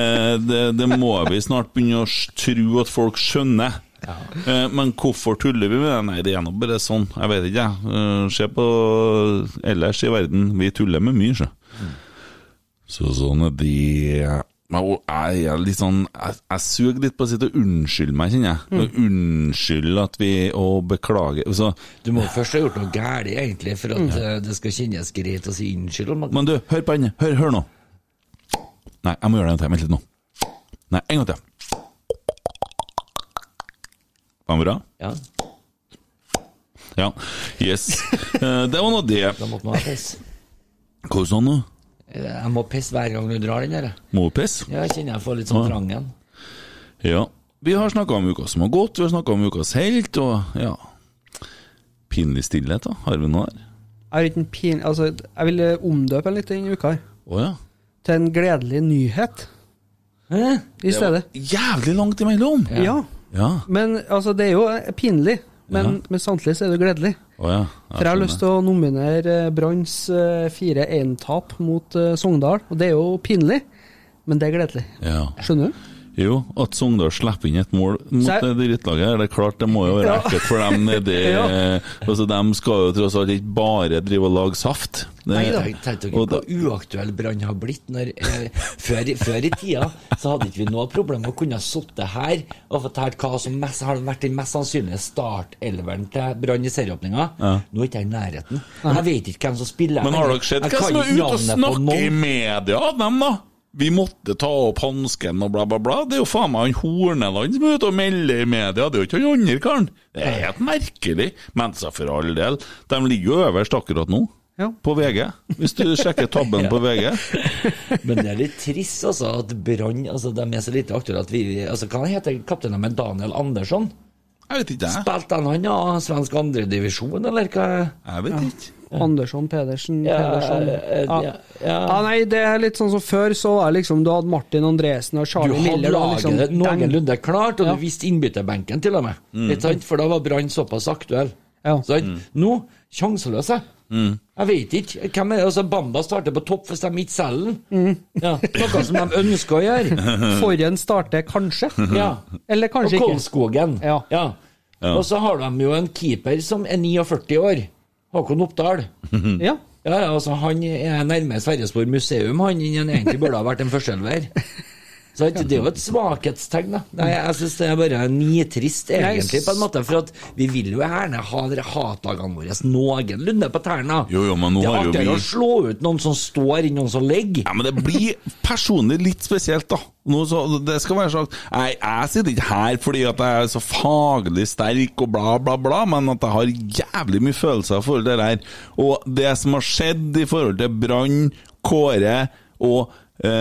Speaker 1: det, det må vi snart begynne å s- tro at folk skjønner. Eh, Men hvorfor tuller vi med det? Nei, det er nå bare sånn. Jeg vet ikke, jeg. Eh, Se på ellers i verden. Vi tuller med mye, sjø. Så sånn at de Men jo, jeg er litt sånn Jeg, jeg suger litt på å sitte og unnskylde meg, kjenner jeg. Og Unnskylde at vi Og beklage. Så,
Speaker 4: Du må først ha gjort noe galt, egentlig, for at eh, det skal kjennes greit å si unnskyld. om at-
Speaker 1: men du, hør på henne. Hør, hør nå. Nei, jeg må gjøre det en gang til. Vent litt nå. Nei, en gang til. Var den bra?
Speaker 4: Ja,
Speaker 1: Ja. Yes. Eh, Det var nå det.
Speaker 4: da måtte man ha fest.
Speaker 1: Hva sa du nå?
Speaker 4: Eh, Jeg må pisse hver gang du drar den der. jeg.
Speaker 1: Må du pisse?
Speaker 4: Ja, jeg kjenner jeg får litt sånn
Speaker 1: Ah.
Speaker 4: trang igjen.
Speaker 1: Ja. Vi har snakka om uka som har gått, vi har snakka om ukas helt, og ja Pinlig stillhet, da. Har vi noe der?
Speaker 2: Jeg har ikke en pin... Altså, jeg vil eh, omdøpe den litt denne uka her.
Speaker 1: Å ja.
Speaker 2: Til en gledelig nyhet
Speaker 4: Hæ?
Speaker 2: i stedet.
Speaker 1: Jævlig langt imellom!
Speaker 2: Ja.
Speaker 1: Ja.
Speaker 2: Men altså, det er jo eh, pinlig. Men, men samtidig så er det gledelig.
Speaker 1: Å ja.
Speaker 2: For jeg har lyst til å nominere eh, Branns eh, 4-1-tap mot eh, Sogndal, og det er jo pinlig, men det er gledelig.
Speaker 1: ja.
Speaker 2: Skjønner du?
Speaker 1: Jo, at Sogndal slipper inn et mål mot
Speaker 2: Så jeg-
Speaker 1: det drittlaget, her, det er klart det må jo være
Speaker 2: Ja.
Speaker 1: ekkelt for dem nedi
Speaker 2: Ja.
Speaker 1: altså, De skal jo tross alt ikke bare drive og lage saft. Det-
Speaker 4: Nei da, tenk dere
Speaker 1: og da-
Speaker 4: hvor uaktuell Brann har blitt. Når, eh, før, før i tida så hadde ikke vi noe problem med å kunne ha sittet her og fortalt hva som mest, har vært den mest sannsynlige startelveren til Brann i serieåpninga. Nå er ikke jeg i nærheten. Jeg vet ikke hvem som spiller.
Speaker 1: Men har dere sett
Speaker 4: Jeg
Speaker 1: hva
Speaker 4: kan
Speaker 1: som er
Speaker 4: ikke
Speaker 1: ute og
Speaker 4: navnet på
Speaker 1: snakker i
Speaker 4: noen.
Speaker 1: media av dem, da? Vi måtte ta opp hansken og bla, bla, bla. Det er jo faen meg han Horneland som er ute og melder i media, det er jo ikke han andre karen. Det er helt merkelig. Men så for all del, de ligger jo øverst akkurat nå.
Speaker 2: Ja.
Speaker 1: På VG, hvis du sjekker tabben på VG.
Speaker 4: Men det er litt trist, altså, at Brann altså, de er så lite aktuelle at vi altså, Hva heter kapteinen med Daniel Andersson?
Speaker 1: Jeg vet ikke, jeg.
Speaker 4: Spilte han han ja, svensk andredivisjon, eller hva?
Speaker 1: Jeg vet ikke.
Speaker 2: Andersson, Pedersen,
Speaker 4: Ja,
Speaker 2: Pedersen. Ja.
Speaker 4: eh, ja,
Speaker 2: Ja.
Speaker 4: ja.
Speaker 2: Nei, det er litt sånn som før, så var det liksom Du hadde Martin Andresen og
Speaker 4: Du
Speaker 2: Charlie
Speaker 4: hadde
Speaker 2: Miller. da,
Speaker 4: laget
Speaker 2: liksom,
Speaker 4: det
Speaker 2: dem.
Speaker 4: noenlunde klart, og
Speaker 2: Ja. Mm.
Speaker 4: du visste innbytterbenken til og med. Ikke sant? For da var Brann såpass aktuell.
Speaker 2: Ja.
Speaker 4: Sant? Nå sjanseløse.
Speaker 2: Mm.
Speaker 4: Jeg vet ikke. Hvem er det? Altså, Bamba starter på topp hvis de ikke selger den.
Speaker 2: Mm.
Speaker 4: Ja. Noe som de ønsker å gjøre.
Speaker 2: Forrige starter kanskje,
Speaker 4: Ja.
Speaker 2: eller kanskje
Speaker 4: og
Speaker 2: ikke.
Speaker 4: Kolskogen.
Speaker 2: Ja.
Speaker 4: Og så har de jo en keeper som er 49 år. Håkon Oppdal.
Speaker 2: Ja.
Speaker 4: Ja, ja, altså Han er nærmere Sverresborg museum, han, enn han egentlig burde ha vært en førsteelver. Så at Det er jo et svakhetstegn. da. Nei, Jeg syns det er bare nitrist, egentlig, på en måte. For at vi vil jo gjerne ha dere hatlagene våre noenlunde på tærne.
Speaker 1: Jo, jo, men nå
Speaker 4: det er
Speaker 1: har jo
Speaker 4: artigere
Speaker 1: vi-
Speaker 4: å slå ut noen som står, enn noen som ligger.
Speaker 1: Ja, men det blir personlig litt spesielt, da. Nå så, det skal være sagt. Jeg, jeg sitter ikke her fordi at jeg er så faglig sterk og bla, bla, bla, men at jeg har jævlig mye følelser for det her. Og det som har skjedd i forhold til Brann, Kåre og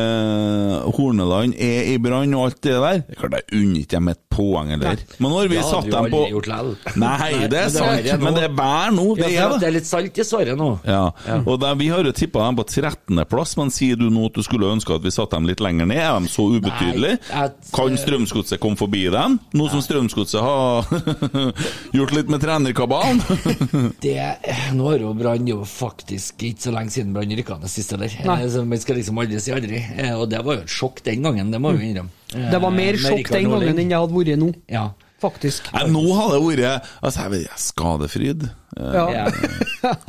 Speaker 1: eh, Horneland er i brann og alt det der. Det er klart jeg unner ikke dem et poeng heller. Men når vi
Speaker 4: Det hadde
Speaker 1: satt
Speaker 4: vi
Speaker 1: dem på
Speaker 4: aldri gjort likevel.
Speaker 1: Nei, det er
Speaker 4: men det er
Speaker 1: sant,
Speaker 4: det nå.
Speaker 1: men det er vær nå.
Speaker 4: Ja,
Speaker 1: Det
Speaker 4: for
Speaker 1: er
Speaker 4: at
Speaker 1: det.
Speaker 4: det er litt salt i såret nå.
Speaker 1: Ja, og da, Vi har jo tippa dem på 13.-plass, men sier du nå at du skulle ønske at vi satte dem litt lenger ned? Er de så ubetydelige?
Speaker 4: Nei, jeg-
Speaker 1: Kan Strømsgodset komme forbi dem, nå som Strømsgodset har gjort litt med trenerkabalen?
Speaker 4: det, eh, nå har jo Brann jo faktisk ikke så lenge siden Brann rykka ned sist, eller?
Speaker 2: Nei.
Speaker 4: Eh, Så man skal liksom aldri si aldri. Eh, Og det var jo et sjokk den gangen, det må vi innrømme. Eh,
Speaker 2: Mm. Det var mer
Speaker 4: med
Speaker 2: sjokk
Speaker 4: Rikard
Speaker 2: den
Speaker 4: Norling.
Speaker 2: gangen enn jeg hadde vært nå,
Speaker 4: Ja.
Speaker 2: faktisk.
Speaker 1: Nei, nå har det vært altså, jeg vet, ikke, Skadefryd? Eh,
Speaker 2: Ja.
Speaker 4: Ja.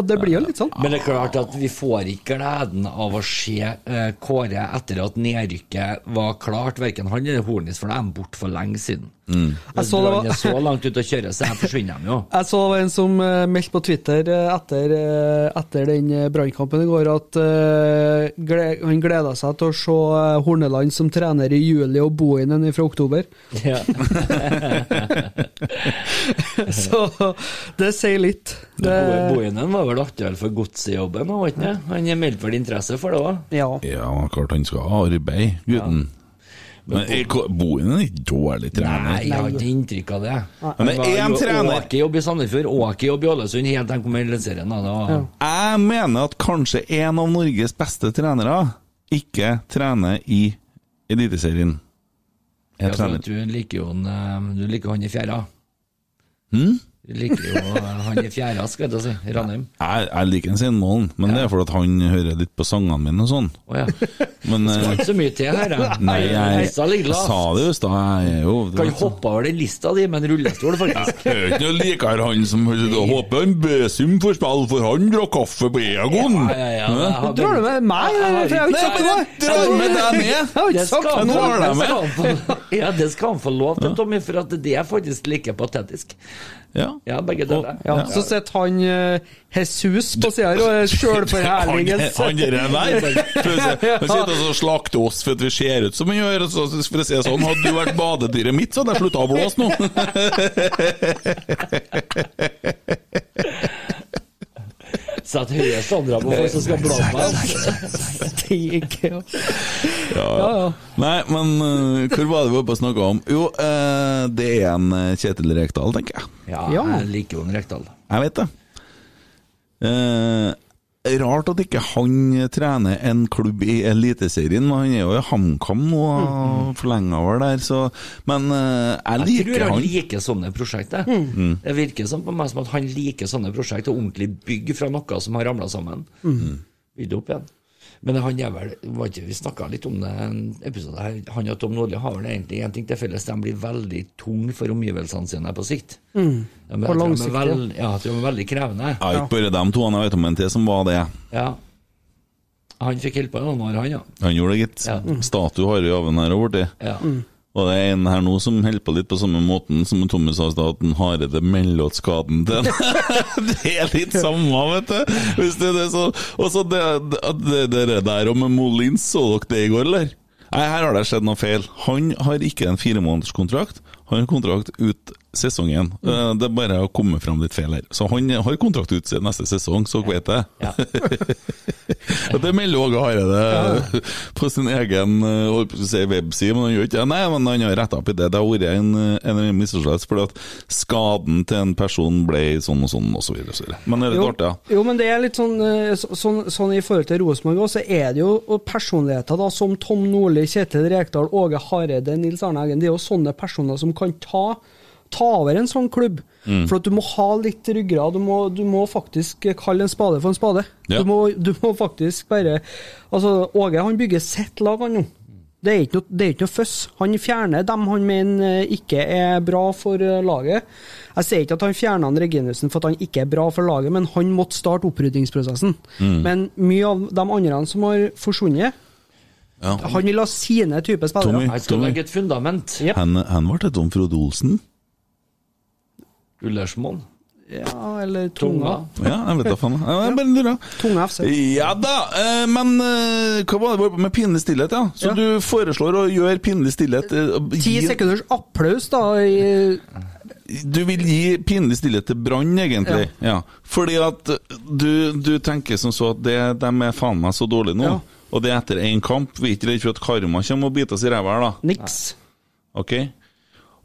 Speaker 2: Det blir jo litt sånn.
Speaker 4: Men det er klart at vi får ikke gleden av å se eh, Kåre etter at nedrykket var klart. Verken han eller Hornis, for da er han borte for lenge siden. Hvis
Speaker 2: så det var-
Speaker 4: Brann er så langt ute å kjøre, så her forsvinner de jo.
Speaker 2: Jeg så det var en som eh, meldte på Twitter eh, etter, eh, etter den eh, brannkampen i går, at eh, gle- han gleda seg til å se eh, Horneland som trener i juli og Bohinen fra oktober.
Speaker 4: Ja.
Speaker 2: Så det sier litt. Det,
Speaker 4: Bo- Bohinen var vel aktuell for godsejobben, var ikke det? Han er meldt vel interesse for det òg.
Speaker 2: ja.
Speaker 1: Ja, klart han skal ha arbeid, gutten. Men er Ko- Bohin er ikke dårlig trener.
Speaker 4: Nei, jeg har ikke inntrykk av det.
Speaker 1: Men det er
Speaker 4: var
Speaker 1: én
Speaker 4: jo
Speaker 1: trener.
Speaker 4: Åkejobb i Sandefjord, Åkejobb i Ålesund, helt til han kom i Eliteserien. da. Det var-
Speaker 2: Ja.
Speaker 1: Jeg mener at kanskje en av Norges beste trenere ikke trener i Eliteserien.
Speaker 4: Ja,
Speaker 1: Jeg
Speaker 4: for
Speaker 1: trener
Speaker 4: at Altså, Du liker jo han, eh, du liker han i fjæra.
Speaker 1: Hm?
Speaker 4: Du liker jo eh, han i fjæra, skal jeg til å si. Ranheim.
Speaker 1: Jeg, jeg liker en Sindmolen, men det er fordi at han hører litt på sangene mine og sånn.
Speaker 4: Å ja.
Speaker 1: Men
Speaker 4: Det var
Speaker 1: eh,
Speaker 4: ikke så mye til her, jeg.
Speaker 1: nei, jeg,
Speaker 4: Lista ligger
Speaker 1: jeg sa sånn.
Speaker 4: lavt.
Speaker 1: det jo i stad, jeg er jo
Speaker 4: Kan hoppe over den lista di med en rullestol, faktisk.
Speaker 1: Jeg er ikke noe likere han som Jeg håper han Besum får spille, for han drakk kaffe på Egon.
Speaker 4: Ja, ja,
Speaker 1: Hm?
Speaker 4: ja, jeg har
Speaker 2: Drar du med meg? eller? For Jeg har ikke
Speaker 1: Nei,
Speaker 2: sagt noe!
Speaker 1: men drar med deg ned!
Speaker 2: Jeg har
Speaker 4: Det
Speaker 2: ikke
Speaker 4: skal
Speaker 2: sagt
Speaker 4: han
Speaker 1: nå
Speaker 4: få-
Speaker 1: har
Speaker 2: noe!
Speaker 1: de
Speaker 4: det skal
Speaker 1: det.
Speaker 4: han få- Ja, det skal han få lov til, Tommy, for at det er faktisk like patetisk.
Speaker 1: Ja.
Speaker 4: Ja, begge deler.
Speaker 2: Ja, så sitter han eh, Jesus på sida her og er
Speaker 1: Han,
Speaker 2: sjølforherligens.
Speaker 1: han der der. Han sitter og så slakter oss for at vi ser ut som han gjør. og så- For å si det sånn, hadde du vært badedyret mitt, så hadde jeg slutta å blåse nå.
Speaker 4: sette høye standarder på folk som skal bla på meg.
Speaker 2: Det gikk jo.
Speaker 1: Ja,
Speaker 2: Ja, ja.
Speaker 1: Nei, men eh, hvor var det vi var på å snakke om? Jo, eh, det er en eh, Kjetil Rekdal, tenker jeg.
Speaker 4: Ja,
Speaker 2: Ja.
Speaker 4: jeg liker jo en Rekdal.
Speaker 1: Jeg vet det. Eh, rart at ikke han trener en klubb i Eliteserien, men han er jo i HamKam nå, forlenga over der, så Men eh, jeg
Speaker 4: Jeg
Speaker 1: liker
Speaker 4: tror han
Speaker 1: han.
Speaker 4: liker sånne prosjekter. Det virker sånn på meg som at han liker sånne prosjekter, ordentlig bygg fra noe som har ramla sammen. Mm. Bygd opp igjen. Men han er vel, var ikke, vi snakka litt om det i en episode her, han og Tom Nordli har vel egentlig én ting til felles, de blir veldig tunge for omgivelsene sine på sikt. De,
Speaker 2: Og
Speaker 4: jeg tror de
Speaker 2: langsiktige.
Speaker 4: er vel- ja, jeg tror de er veldig krevende.
Speaker 1: Ja, ikke bare de to, han jeg vet om en til som var det.
Speaker 4: Ja. Han fikk holde på noen år, han, ja.
Speaker 1: Han gjorde det, gitt.
Speaker 4: Ja.
Speaker 1: Statue har vi av han her og borti.
Speaker 4: ja.
Speaker 1: Og det er en her nå som holder på litt på samme måten som Tommy sa i stad, at en Hareide melder ut skaden til en. det er litt samme, vet du. Hvis det er det, så Og så det, det, det, det der om Molins, så dere det i går, eller? Nei, her har det skjedd noe feil. Han har ikke en firemånederskontrakt, han har kontrakt ut sesongen. Eh, Det er bare å komme fram litt feil her. Så han har kontrakt ut til neste sesong, så dere vet det.
Speaker 4: Ja.
Speaker 1: Og Det melder Åge Hareide eh, på sin egen eh, holdt på å si, webside, men han gjør ikke det. Nei, men han har retta opp i det. Det har vært en, eh, en eller annen misforståelse, fordi at skaden til en person ble sånn og sånn, og så videre. og så videre. Men det er litt
Speaker 2: Jo,
Speaker 1: artig, ja.
Speaker 2: jo, men det er litt sånn, eh, så- sånn, sånn i forhold til Rosenborg òg, så er det jo personligheter da, som Tom Nordli, Kjetil Rekdal, Åge Hareide, Nils Arne Eggen. Det er jo sånne personer som kan ta, ta over en sånn klubb.
Speaker 1: Mm.
Speaker 2: For at du må ha litt ryggrad. Du må, du må faktisk kalle en spade for en spade.
Speaker 1: Ja.
Speaker 2: Du, må, du må faktisk bare Altså, Åge han bygger sitt lag, han nå. Det er, ikke noe, det er ikke noe føss. Han fjerner dem han mener eh, ikke er bra for eh, laget. Jeg sier ikke at han fjerna Reginussen for at han ikke er bra for laget, men han måtte starte oppryddingsprosessen. Men mye av de andre som har forsvunnet
Speaker 1: Ja.
Speaker 2: Han vil ha sine typer spillere.
Speaker 1: Tommy.
Speaker 4: Han skal
Speaker 1: Tommy.
Speaker 4: legge et fundament.
Speaker 2: Ja.
Speaker 1: Han, han ble til Tom Frode Olsen.
Speaker 4: Ullersmoen.
Speaker 2: Ja, eller Tunga.
Speaker 4: Tunga.
Speaker 1: Ja, jeg vet da faen. Jeg, jeg bare lurer.
Speaker 2: Tunga FC.
Speaker 1: Ja da, eh, men eh, hva var det vi var på med pinlig stillhet, ja? Så
Speaker 2: Ja.
Speaker 1: du foreslår å gjøre pinlig stillhet eh,
Speaker 2: Ti
Speaker 1: gi-
Speaker 2: sekunders applaus, da. I,
Speaker 1: Du vil gi pinlig stillhet til Brann, egentlig. Ja. Fordi at du, du tenker som så at det, de er faen meg så dårlige nå.
Speaker 2: Ja.
Speaker 1: Og det er etter én kamp. Vi er ikke redd for at karma kommer og biter oss i ræva her, da.
Speaker 2: niks.
Speaker 1: Ok?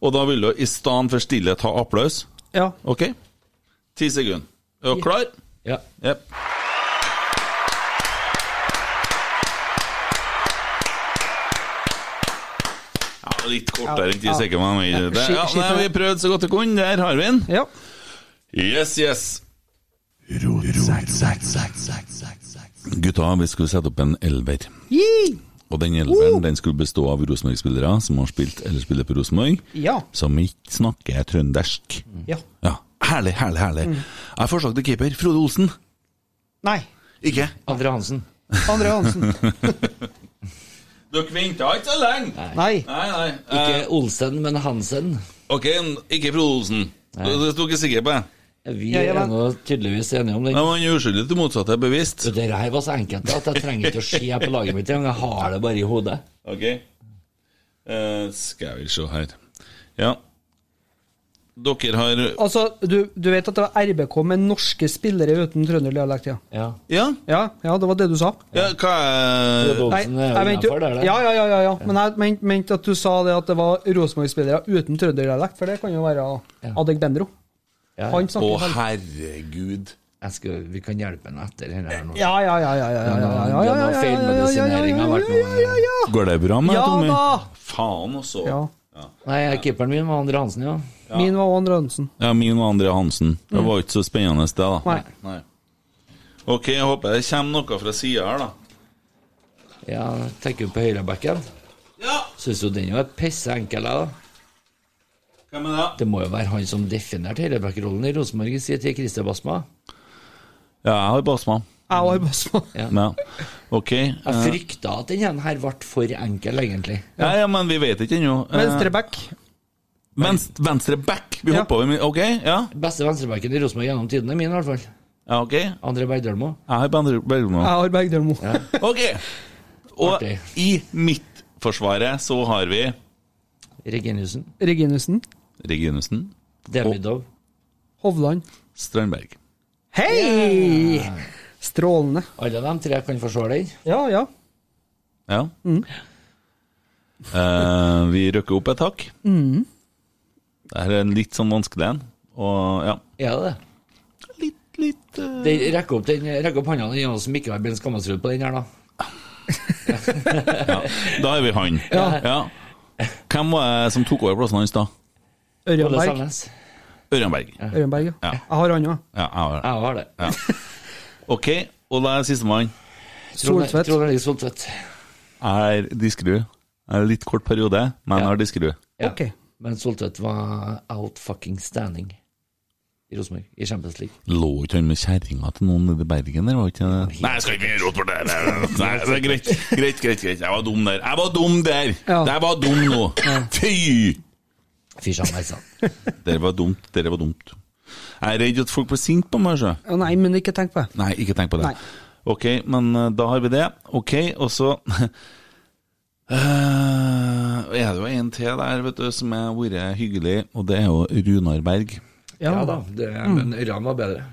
Speaker 1: Og da vil du i stedet for stillhet ha applaus.
Speaker 2: Ja.
Speaker 1: Ok? Ti sekunder. Er du klar?
Speaker 4: Ja.
Speaker 1: Jepp. Ja, litt kortere enn ti
Speaker 2: Ja.
Speaker 1: sekunder. men jeg- det-
Speaker 2: Skitt-
Speaker 1: Ja,
Speaker 2: skitt-
Speaker 1: nei, vi prøvde så godt vi kunne. Der har vi den.
Speaker 2: ja.
Speaker 1: Yes, yes. Gutta, vi skulle sette opp en elver.
Speaker 2: Gi!
Speaker 1: Og den elveren den skulle bestå av Rosenborg-spillere som har spilt eller spiller på Rosenborg,
Speaker 2: Ja.
Speaker 1: som ikke snakker trøndersk.
Speaker 2: ja.
Speaker 1: Ja, Herlig, herlig, herlig. Jeg forslag til keeper Frode Olsen.
Speaker 2: Nei.
Speaker 1: Ikke?
Speaker 4: Andre Hansen.
Speaker 2: Andre Hansen.
Speaker 1: Dere venta ikke så lenge! Nei,
Speaker 2: Nei.
Speaker 1: nei.
Speaker 4: Ikke Olsen, men Hansen.
Speaker 1: ok, ikke Frode Olsen. Det sto ikke sikker på.
Speaker 4: Vi
Speaker 2: Ja, ja,
Speaker 4: er
Speaker 2: men-
Speaker 4: nå tydeligvis enige om
Speaker 1: Men
Speaker 4: den.
Speaker 1: han er uskyldig til motsatte er bevisst.
Speaker 4: Så Dette her var så enkelt at jeg trenger ikke å se på laget mitt engang. Jeg har det bare i hodet.
Speaker 1: Ok. Eh, skal vi se her Ja. Dere har
Speaker 2: Altså, du, du vet at det var RBK med norske spillere uten trønderdialekt, ja.
Speaker 4: Ja.
Speaker 1: Ja,
Speaker 2: ja? Ja, det var det du sa?
Speaker 1: ja hva er
Speaker 4: Frode Olsen er jo
Speaker 2: mente jo-
Speaker 4: innenfor der, det.
Speaker 2: ja, ja, ja, ja, ja. Men jeg mente mente at du sa det at det var Rosenborg-spillere uten trønderdialekt, for det kan jo være
Speaker 4: Ja.
Speaker 2: Adegbendro.
Speaker 4: Ja.
Speaker 2: Han
Speaker 1: Å,
Speaker 2: snakker vel-
Speaker 1: herregud.
Speaker 4: Jeg skal, vi kan hjelpe ham etter denne her nå.
Speaker 2: Ja, ja, ja, ja, ja, ja, ja, ja, ja, ja, ja, ja, ja, ja,
Speaker 4: Feilmedisinering har vært
Speaker 2: ja,
Speaker 4: noe-
Speaker 2: ja, ja.
Speaker 1: Går det bra med
Speaker 2: Ja
Speaker 1: deg, Tommy?
Speaker 2: da!
Speaker 1: Faen altså. også.
Speaker 2: Ja.
Speaker 4: Nei, keeperen min var Andre Hansen, ja.
Speaker 2: Min var Andre Hansen.
Speaker 1: Ja, min og André Hansen. Det var ikke så spennende det, da.
Speaker 2: Mm. Nei.
Speaker 1: Ok, jeg håper det kommer noe fra sida her, da.
Speaker 4: ja tenker du på høyrebacken?
Speaker 1: Ja!
Speaker 4: Syns jo den var pissenkel, jeg, da.
Speaker 1: Hvem er det?
Speaker 4: Det må jo være han som definerte høyrebackrollen i Rosenborg i sin tid, Christer Basma.
Speaker 1: Ja, jeg har Basma.
Speaker 2: Jeg var Basma.
Speaker 1: Ja. Ok. eh,
Speaker 4: Jeg frykta at den her ble for enkel, egentlig.
Speaker 1: Ja, ja, men vi vet ikke ennå. Eh,
Speaker 2: Venstreback.
Speaker 1: venst- Venstre back. Vi
Speaker 2: Ja.
Speaker 1: hopper over min- Ok, ja.
Speaker 4: Beste venstrebacken i Rosenborg gjennom tidene, min i hvert fall.
Speaker 1: ja ok. Jeg
Speaker 4: André Bergdølmo.
Speaker 1: har Bendre Bergmo.
Speaker 2: Jeg har Bergdølmo.
Speaker 1: Ok. Og
Speaker 4: Artig.
Speaker 1: i midtforsvaret så har vi
Speaker 4: Reginiussen.
Speaker 2: Reginussen.
Speaker 1: Reginussen,
Speaker 4: Demidov.
Speaker 2: Hovland.
Speaker 1: Strandberg.
Speaker 2: Hei! Strålende.
Speaker 4: Alle de tre kan forsvare den.
Speaker 2: Ja, ja.
Speaker 1: Ja.
Speaker 2: Mm.
Speaker 1: Eh, vi røkker opp et hakk. Mm. Dette er en litt sånn vanskelig en. Og ja
Speaker 4: Er det det?
Speaker 1: Litt, litt eh,
Speaker 4: Den, rekk, opp den, rekk opp hånda den som ikke har Ben Skammansrud på den her, da.
Speaker 1: Da er vi han.
Speaker 2: Ja.
Speaker 1: Ja. Hvem var det som tok over plassen hans da?
Speaker 2: Ørjan
Speaker 4: Ole
Speaker 2: Berg.
Speaker 4: Sandnes.
Speaker 1: Ørjan Berg. Ja,
Speaker 2: Ørjan Berg, ja.
Speaker 1: Ja.
Speaker 2: Jeg har han òg.
Speaker 1: jeg har det.
Speaker 4: Jeg har det.
Speaker 1: Ok, og da er sistemann.
Speaker 4: Trond-
Speaker 2: Soltvedt.
Speaker 4: Trond Erling Soltvedt.
Speaker 1: Jeg er diskerud. Jeg er litt kort periode, men jeg er diskerud.
Speaker 4: Ja.
Speaker 2: Ok.
Speaker 4: Men Soltvedt var out fucking standing i Rosenborg, i Champions League.
Speaker 1: Lå ikke han med kjerringa til noen nede i Bergen der, var ikke det? Nei, jeg skal ikke rote for det. Nei, nei, nei, det er greit. greit, greit, greit. Jeg var dum der. Jeg var dum der!
Speaker 2: Ja.
Speaker 1: Jeg var dum nå! Fy!
Speaker 4: Fysja meg, sa han.
Speaker 1: Dere var dumt, dere var dumt. Jeg er redd at folk blir sinte på meg. Så.
Speaker 2: Ja, nei, men ikke tenk på det.
Speaker 1: Nei, ikke tenk på det.
Speaker 2: Nei.
Speaker 1: Ok, men eh, da har vi det. Ok, og så Eh, er det jo en til der vet du, som har vært hyggelig, og det er jo Runar Berg.
Speaker 4: Ja, da, det, men Ørjan var bedre.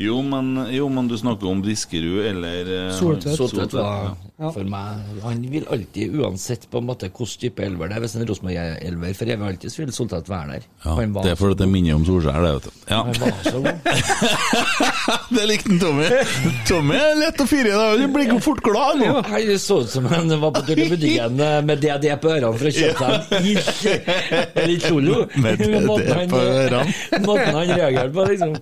Speaker 1: Jo, men, jo, men du snakker om Diskerud eller eh,
Speaker 2: Soltvedt.
Speaker 4: Soltvedt var
Speaker 2: Ja.
Speaker 4: for meg Han vil alltid, uansett på en måte hvilken type elver det er Hvis en Rosenborg-elver for evig og alltid, så vil Soltvedt være der.
Speaker 1: Ja,
Speaker 4: Han var
Speaker 1: det er fordi det minner om Solskjær, det, vet du. Ja.
Speaker 4: han var så god.
Speaker 1: Det likte han Tommy. Tommy er lett å fyre i dag, du blir ikke fort glad nå.
Speaker 4: Han så ut som han var på tur til butikken eh, med DD på ørene for å kjøpe seg en litt solo.
Speaker 1: Med DD på ørene.
Speaker 4: Måten han reagerte på, liksom.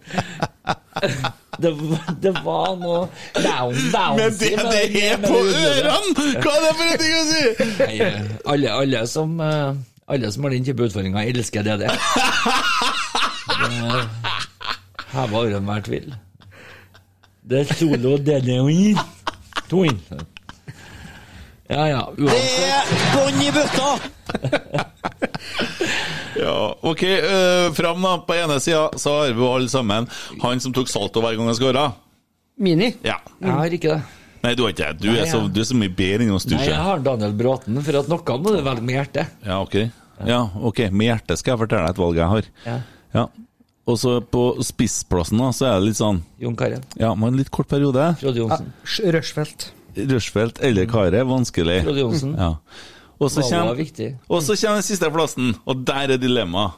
Speaker 4: Det, var- det var noe down, down
Speaker 1: Men det, det er på ørene! Hva er det for en ting å si?!
Speaker 4: eh, alle, alle, som, eh, alle som har den type utfordringer, elsker DD. Det heva over enhver tvil. Det er solo DD og inn. To inn. Ja, ja. Uansett.
Speaker 3: Bånn i bøtta!
Speaker 1: Ja, ok, øh, fram da. På ene sida så har vi jo alle sammen han som tok salto hver gang han skåra.
Speaker 2: Mini.
Speaker 1: Ja.
Speaker 4: Jeg har ikke det.
Speaker 1: Nei, du har ikke det. Du, er
Speaker 4: Nei,
Speaker 1: så-
Speaker 4: ja.
Speaker 1: du er så mye bedre enn oss, du
Speaker 4: Nei, jeg
Speaker 1: ikke.
Speaker 4: har Daniel Bråten, for at noe må du velge med hjertet.
Speaker 1: Ja, ok. Ja, ok. Med hjertet skal jeg fortelle deg et valg jeg har.
Speaker 4: Ja.
Speaker 1: Ja. Og så på spissplassen, da, så er det litt sånn
Speaker 4: Jon Carew.
Speaker 1: Ja, men litt kort periode.
Speaker 4: Frode Johnsen.
Speaker 2: Sj- Rushfeldt.
Speaker 1: Rushfeldt eller Kare, vanskelig.
Speaker 4: Frode Johnsen.
Speaker 1: Ja. Og så
Speaker 4: Valget var
Speaker 1: kommer,
Speaker 4: viktig.
Speaker 1: og så kommer den siste plassen, og der er dilemmaet.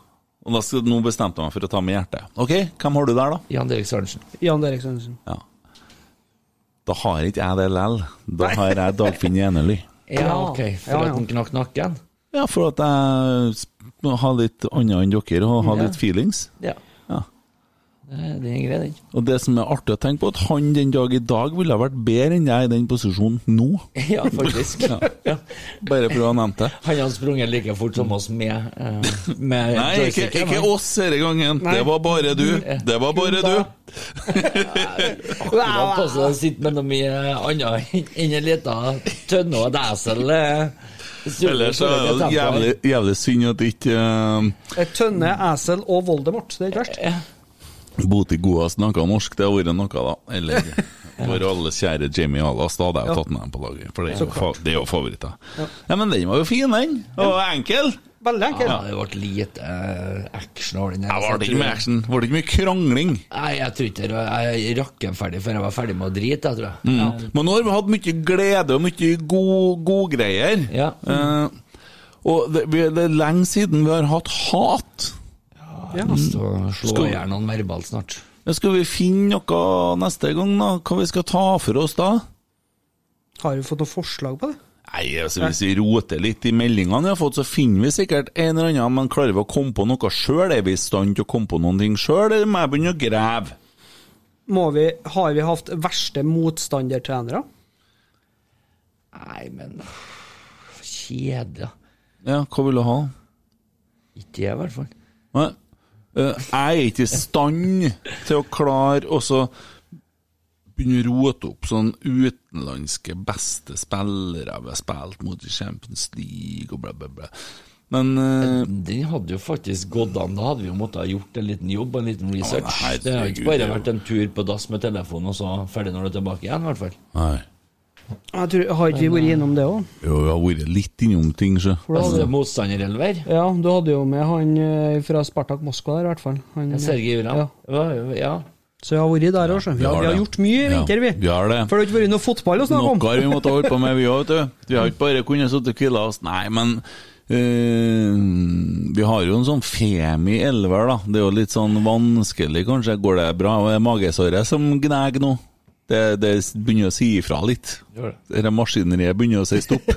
Speaker 1: Og da skal, Nå bestemte jeg meg for å ta med hjertet. Ok, hvem har du der, da?
Speaker 4: Jan Erik Sørensen.
Speaker 2: Jan Erik Sørensen.
Speaker 1: Da har ikke jeg det lell. Da har jeg Dagfinn Enely.
Speaker 4: Ja, ok. For
Speaker 2: Ja, ja.
Speaker 4: at han knakk nakken.
Speaker 1: Ja, for at jeg sp- har litt annet enn dere, og har
Speaker 4: Ja.
Speaker 1: litt feelings.
Speaker 4: Ja.
Speaker 1: Ja.
Speaker 4: Eh, Det det er greit, den.
Speaker 1: Og det som er artig å tenke på, at han den dag i dag ville ha vært bedre enn jeg i den posisjonen nå.
Speaker 4: Ja, faktisk. Ja.
Speaker 1: Bare for å ha nevnt det.
Speaker 4: Han hadde sprunget like fort som oss med, eh, med
Speaker 1: Nei, ikke,
Speaker 4: joysticken,
Speaker 1: ikke
Speaker 4: han.
Speaker 1: oss denne gangen. Det var bare du.
Speaker 4: Mm.
Speaker 1: Det var bare du.
Speaker 4: Det var passe å sitte med noe mye annet enn en liten tønne og desel. eh, sur-
Speaker 1: Ellers er det
Speaker 4: tempo.
Speaker 1: jævlig, jævlig synd at ikke uh,
Speaker 2: Eh, Tønne, Esel og Voldemort. Det er ikke verst.
Speaker 1: Boti Goa snakka norsk. Det hadde vært noe, da. Eller for alle kjære Jamie Allas, da hadde jeg jo tatt med dem på laget. For det er jo, fa det er jo favoritter. Ja. men den var jo fin, den. Og enkel.
Speaker 2: Veldig enkelt.
Speaker 4: Ja, det ble lite eh, action over den. her,
Speaker 1: Jeg
Speaker 4: så
Speaker 1: var det
Speaker 4: jeg
Speaker 1: ikke mye
Speaker 4: tror-
Speaker 1: action. Var det ikke mye krangling.
Speaker 4: Nei, jeg tror ikke det var- Jeg rakk den ferdig før jeg var ferdig med å drite, jeg tror jeg.
Speaker 1: Mm.
Speaker 4: Ja.
Speaker 1: Men nå har vi hatt mye glede og mye god- godgreier.
Speaker 4: Ja.
Speaker 1: Eh, og det, vi, det er lenge siden vi har hatt hat.
Speaker 4: Så slår
Speaker 1: Skal-
Speaker 4: jeg noen verbalt snart.
Speaker 1: Men Skal vi finne noe neste gang, da? Hva vi skal ta for oss da?
Speaker 2: Har du fått noe forslag på det?
Speaker 1: Nei, altså Hvis vi roter litt i meldingene vi har fått, så finner vi sikkert en eller annen, men klarer vi å komme på noe sjøl? Er vi i stand til å komme på noen ting sjøl, eller må jeg begynne å grave?
Speaker 2: Må vi, har vi hatt verste motstandertrenere?
Speaker 4: Nei, men Kjedelig.
Speaker 1: Ja, hva vil du ha?
Speaker 4: Ikke jeg, i hvert fall.
Speaker 1: Nei. Eh, Jeg er ikke i stand til å klare å så begynne å rote opp sånn utenlandske beste spillere vi har spilt mot i Champions League og bla, bla, bla. Men eh,
Speaker 4: Den hadde jo faktisk gått an. Da hadde vi jo måttet ha gjort en liten jobb og en liten research.
Speaker 1: Å, nei,
Speaker 4: det har
Speaker 1: herregud,
Speaker 4: ikke bare
Speaker 1: ja.
Speaker 4: vært en tur på dass med telefonen, og så ferdig når du er tilbake igjen, i hvert fall.
Speaker 1: Nei.
Speaker 2: Jeg tror, Eh, har ikke vi vært innom det òg?
Speaker 1: Jo, jeg har vært litt innom ting, så.
Speaker 4: Beste motstanderelver.
Speaker 2: Ja, du hadde jo med han eh, fra Spartak Moskva der, i hvert fall. Han,
Speaker 4: Sergej Uran.
Speaker 2: Ja.
Speaker 4: Ja. ja.
Speaker 2: Så vi har vært der òg, skjønner du. Vi,
Speaker 1: vi
Speaker 2: har-
Speaker 1: har
Speaker 2: vi har
Speaker 1: det.
Speaker 2: gjort mye i
Speaker 1: Ja,
Speaker 2: vinter, vi.
Speaker 1: vi har det.
Speaker 2: For det har ikke vært noe fotball å snakke
Speaker 1: Noe
Speaker 2: om.
Speaker 1: har vi måttet holde på med, vi òg, vet du. Vi har ikke bare kunnet sitte og hvile oss. Nei, men eh, vi har jo en sånn femi elver, da. Det er jo litt sånn vanskelig, kanskje. Går det bra? Det er magesåret som gnager nå. Det, det begynner å si ifra litt.
Speaker 4: Gjør det.
Speaker 1: Dette maskineriet begynner å si stopp.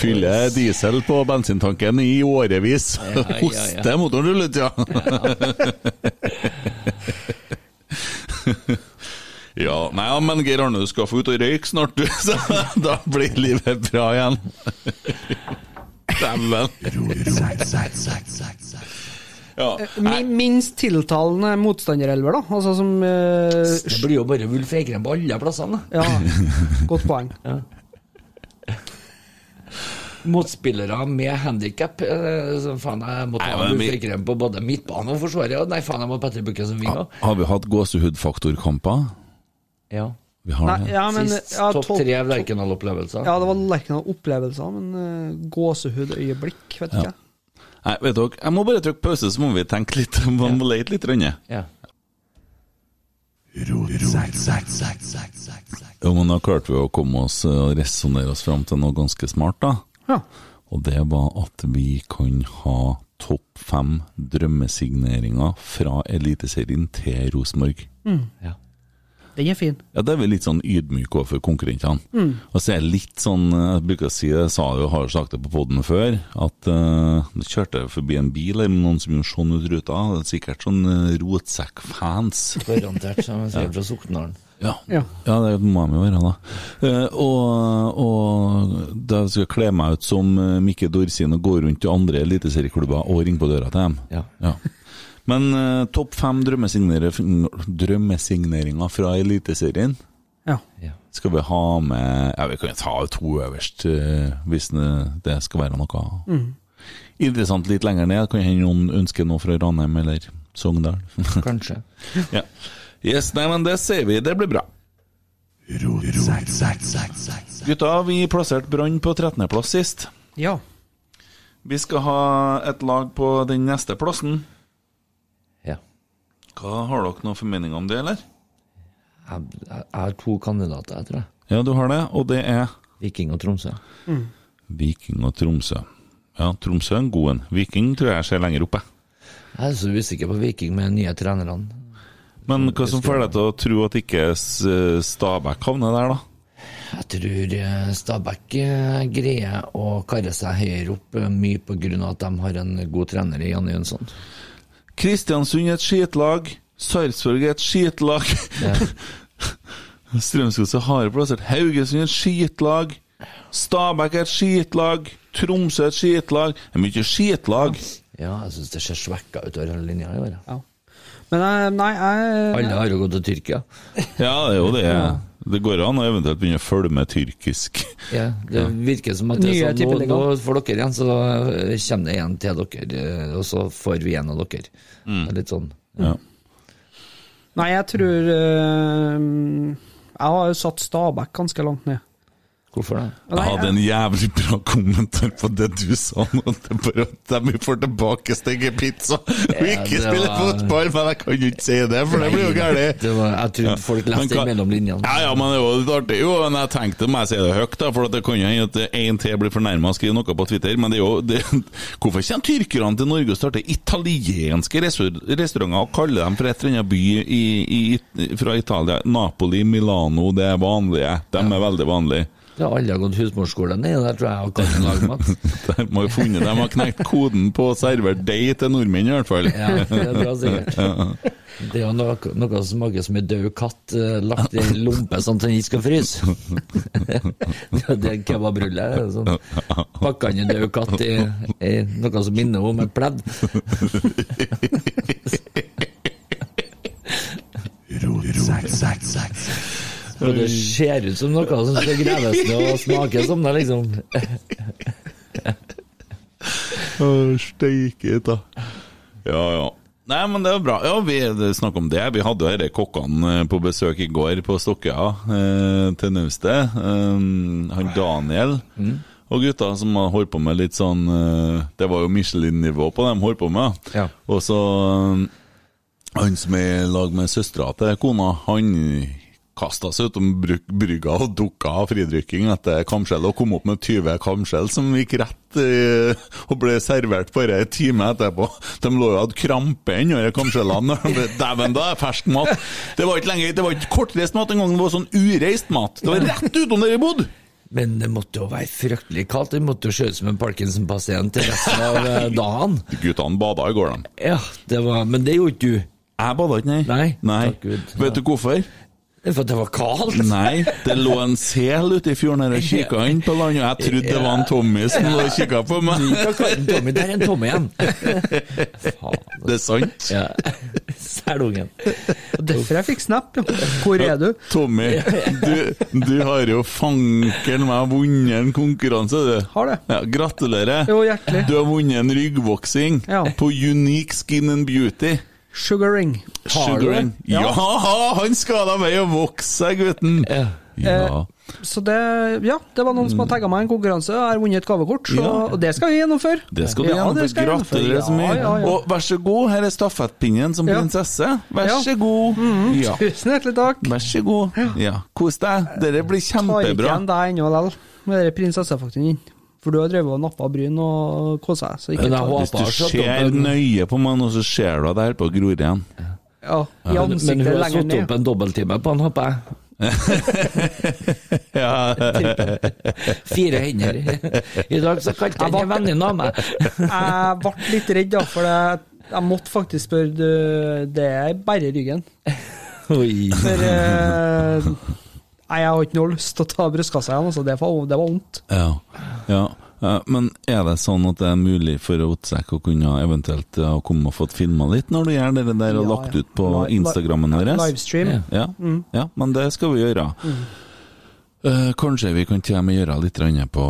Speaker 1: Fyller diesel på bensintanken i årevis.
Speaker 4: Ja, ja, ja.
Speaker 1: Hoster motoren ruller ut, ja. Ja, nei, ja, men Geir Arne, du skal få ut og røyke snart, du. Så da blir livet bra igjen. Dæven. Ja, nei,
Speaker 2: Mi- Minst tiltalende motstanderelver, da. Altså som eh,
Speaker 4: Det blir jo bare Ulf Ekrem på alle plassene. da.
Speaker 2: Ja, godt poeng.
Speaker 4: Motspillere med handikap. Faen, jeg må ta
Speaker 1: Nei, men
Speaker 4: Ulf
Speaker 1: vi-
Speaker 4: Ekrem på både midtbane og forsvaret. og Nei, faen, jeg må ha Petter Bukke som ving òg.
Speaker 1: har vi hatt gåsehudfaktorkamper?
Speaker 4: Ja.
Speaker 1: Vi har
Speaker 2: Nei,
Speaker 1: det.
Speaker 2: ja, men
Speaker 4: Sist
Speaker 2: ja,
Speaker 4: topp
Speaker 2: topp-
Speaker 4: tre Lerkendal-opplevelser.
Speaker 2: Ja, det var Lerkendal-opplevelser, men eh, gåsehudøyeblikk, vet ikke jeg.
Speaker 1: Nei, vet dere, jeg må bare trykke pause, så må vi tenke litt. Vi må lete litt. Rønne.
Speaker 4: Ja.
Speaker 1: Jo, men da klarte vi å komme oss eh, og resonnere oss fram til noe ganske smart, da.
Speaker 2: Ja.
Speaker 1: Og det var at vi kan ha topp fem drømmesigneringer fra Eliteserien til Rosenborg.
Speaker 4: Ja.
Speaker 2: Den er fin.
Speaker 1: Ja, det er vi litt sånn ydmyke overfor konkurrentene. Og så er jeg litt sånn Jeg bruker å si det, jeg sa jo, har jo sagt det på poden før, at eh, jeg kjørte forbi en bil her med noen som gjorde sånn ut ruta. Det er sikkert sånn eh, rotsekkfans.
Speaker 4: Garantert, som jeg sier fra Soknaren.
Speaker 1: Ja.
Speaker 2: Ja.
Speaker 1: ja. det må de jo være, da. Eh, og, og da skal jeg kle meg ut som eh, Mikke Dorsin og gå rundt til andre eliteserieklubber og ringe på døra til dem.
Speaker 4: Ja.
Speaker 1: Men eh, topp fem drømmesignere- drømmesigneringer fra Eliteserien
Speaker 2: Ja.
Speaker 4: Ja.
Speaker 1: skal vi ha med Ja, vi kan jo ta to øverst, eh, hvis det det skal være noe. Interessant litt lenger ned. Kan hende noen ønsker noe fra Ranheim eller Sogndal.
Speaker 4: Kanskje.
Speaker 1: ja. Yes, nei, men det ser vi. Det blir bra. Gutta, vi plasserte Brann på 13.-plass sist.
Speaker 2: ja.
Speaker 1: Vi skal ha et lag på den neste plassen.
Speaker 4: Ja.
Speaker 1: Hva Har dere noen formening om det, eller?
Speaker 4: Jeg, jeg jeg har to kandidater, jeg tror jeg.
Speaker 1: Ja, du har det, og det er
Speaker 4: Viking og Tromsø.
Speaker 1: Viking og Tromsø. Ja, Tromsø er en god en. Viking tror jeg ser lenger oppe.
Speaker 4: Jeg er så usikker på Viking med de nye trenerne.
Speaker 1: Men hva som får deg til å tro at ikke S- Stabæk havner der, da?
Speaker 4: Jeg tror eh, Stabæk eh, greier å karre seg høyere opp, eh, mye på grunn av at de har en god trener i Janne Jønsson.
Speaker 1: Kristiansund er et skitlag. Sarpsborg er et skitlag. Strømsgodset har plassert Haugesund er et skitlag. Stabæk er et skitlag. Tromsø er et skitlag. Det er mye skitlag.
Speaker 4: Ja, jeg syns det ser svekka ut over hele linja i år. ja.
Speaker 2: ja. Men jeg, nei, jeg
Speaker 4: Alle har jo gått til Tyrkia.
Speaker 1: Ja, det er jo det. Det går an å eventuelt begynne å følge med tyrkisk.
Speaker 4: Ja, det virker som at det
Speaker 2: Nye
Speaker 4: er sånn, nå,
Speaker 2: tippeligaen.
Speaker 4: nå får dere igjen, så eh, kommer det en til dere, eh, og så får vi en av dere.
Speaker 1: Mm.
Speaker 4: Det er litt sånn.
Speaker 1: Ja.
Speaker 2: Nei, jeg tror eh, Jeg har jo satt Stabæk ganske langt ned.
Speaker 4: Hvorfor det?
Speaker 1: Jeg hadde en jævlig bra kommentar på det du sa nå. Det er bare at de får tilbake Stenge Pizza og ikke
Speaker 4: det
Speaker 1: spiller
Speaker 4: var-
Speaker 1: fotball! Men jeg kan jo ikke si det, for det blir jo galt.
Speaker 4: Det var, jeg trodde folk
Speaker 1: Men
Speaker 4: leste
Speaker 1: hva-
Speaker 4: mellom linjene.
Speaker 1: Ja, ja, men det er jo litt artig, jo. Men jeg tenkte må jeg si det høyt, da, for at det kan jo hende at en til blir fornærma og skriver noe på Twitter. Men det er jo det, Hvorfor kommer tyrkerne til Norge og starter italienske restaur- restauranter og kaller dem for et eller annet by i, i, fra Italia? Napoli, Milano, det er vanlige. De er veldig vanlige.
Speaker 4: Det har alle har gått husmorskole ned der, tror jeg, og kan lage mat.
Speaker 1: De har jo funnet, de har knekt koden på å servere deg til nordmenn, i hvert fall.
Speaker 4: Ja, det er bra sikkert. Det er jo noe, noe som smaker som en død katt eh, lagt i en lompe sånn at den ikke skal fryse. Det er det kebabrulle. det er Sånn. Pakka inn en død katt i, i noe som minner om et pledd. Og det ser ut som noe som skal graves ned og smake som det, liksom.
Speaker 1: Å, steike ta. Ja, ja. Nei, men det var bra. Ja, vi det- snakk om det. Vi hadde jo disse kokkene eh, på besøk i går på Stokkøya, eh, til Naustet. Eh, han Daniel og gutta som har holdt på med litt sånn eh, Det var jo Michelin-nivå på det de holdt på med.
Speaker 4: Ja.
Speaker 1: Og så Han som er i lag med søstera til kona, han kasta seg utom bryg- brygga og dukka av fridrykking etter kamskjell, og kom opp med 20 kamskjell som gikk rett eh, og ble servert bare en time etterpå. De lå jo og hadde krampe inni de kamskjellene. når de ble- Dæven, da er fersk mat! Det var ikke lenge, det var ikke kortreist mat engang, det var sånn ureist mat. Det var rett utom der vi bodde!
Speaker 4: Men det måtte jo være fryktelig kaldt. Det måtte jo se ut som en Parkinson-pasient til resten av eh, dagen.
Speaker 1: Guttene bada i går, de.
Speaker 4: Ja, det var, Men det gjorde ikke du.
Speaker 1: Jeg bada ikke, nei.
Speaker 4: Nei,
Speaker 1: nei.
Speaker 4: takk Gud.
Speaker 1: Vet du hvorfor?
Speaker 4: Det er For at det var kaldt.
Speaker 1: Nei, det lå en sel ute i fjorden her og kikka inn på land, og jeg trodde det var en Tommy som lå og kikka på meg.
Speaker 4: Hva kaller den Tommy? Der er en Tommy igjen. Faen.
Speaker 1: Det er sant.
Speaker 4: Ja. Selungen.
Speaker 2: Derfor jeg fikk snap, ja. Hvor er du?
Speaker 1: Tommy, du, du har jo fanken meg vunnet en konkurranse, du.
Speaker 2: Har det.
Speaker 1: Ja, gratulerer.
Speaker 2: Jo, hjertelig.
Speaker 1: Du har vunnet en ryggvoksing
Speaker 2: Ja.
Speaker 1: på Unique Skin and Beauty.
Speaker 2: Sugaring.
Speaker 4: Har du det?
Speaker 1: Ja. han skada meg og vokste seg, gutten!
Speaker 4: Ja.
Speaker 2: Eh,
Speaker 1: Ja.
Speaker 2: Så det Ja, det var noen som har tagga meg i en konkurranse, og jeg har vunnet et gavekort, så,
Speaker 1: Ja.
Speaker 2: og det skal vi gjennomføre.
Speaker 1: Det skal du
Speaker 2: Ja, det
Speaker 1: gjennomføre.
Speaker 2: skal jeg
Speaker 1: Gratulerer
Speaker 2: gjennomføre.
Speaker 1: så mye.
Speaker 2: Ja, ja, ja.
Speaker 1: Og vær så god, her er stafettpinnen som
Speaker 2: Ja.
Speaker 1: prinsesse. Vær
Speaker 2: Ja. Mm.
Speaker 1: så god. Ja.
Speaker 2: Tusen hjertelig takk.
Speaker 1: Vær så god. Ja. Kos deg. Dette blir
Speaker 2: Har ikke
Speaker 1: kjempebra.
Speaker 2: igjen deg ennå likevel, med den prinsessefaktoren din. For du har drevet og nappa bryn og kosa deg, så ikke
Speaker 4: Men jeg
Speaker 2: ta-
Speaker 1: Hvis du
Speaker 4: håper jeg har
Speaker 1: ser
Speaker 4: satt opp en
Speaker 1: nøye på meg nå, så ser du at jeg holder på å gro igjen.
Speaker 2: ja, I
Speaker 4: men, men hun
Speaker 2: ansiktet
Speaker 4: har
Speaker 2: lenger
Speaker 4: satt opp
Speaker 2: ned.
Speaker 4: en dobbelttime på han, håper jeg. Fire hender. I dag så kalte han en venninne av meg.
Speaker 2: Jeg ble litt redd, da, for jeg, jeg måtte faktisk spørre du, Det er bare ryggen.
Speaker 4: Oi.
Speaker 2: For eh, Nei, jeg har ikke noe lyst til å ta brystkassa igjen, altså. Det var, det var vondt.
Speaker 1: Ja. ja. Eh, Men er det sånn at det er mulig for Otsekk å kunne eventuelt eh, komme og fått filma litt når du gjør det der og
Speaker 2: Ja,
Speaker 1: lagt
Speaker 2: ja.
Speaker 1: ut på
Speaker 2: Li- li-
Speaker 1: Instagrammen vår?
Speaker 2: Livestream.
Speaker 4: Ja.
Speaker 1: Ja, ja, men det skal vi gjøre. Eh, kanskje vi kan til og med gjøre litt grann på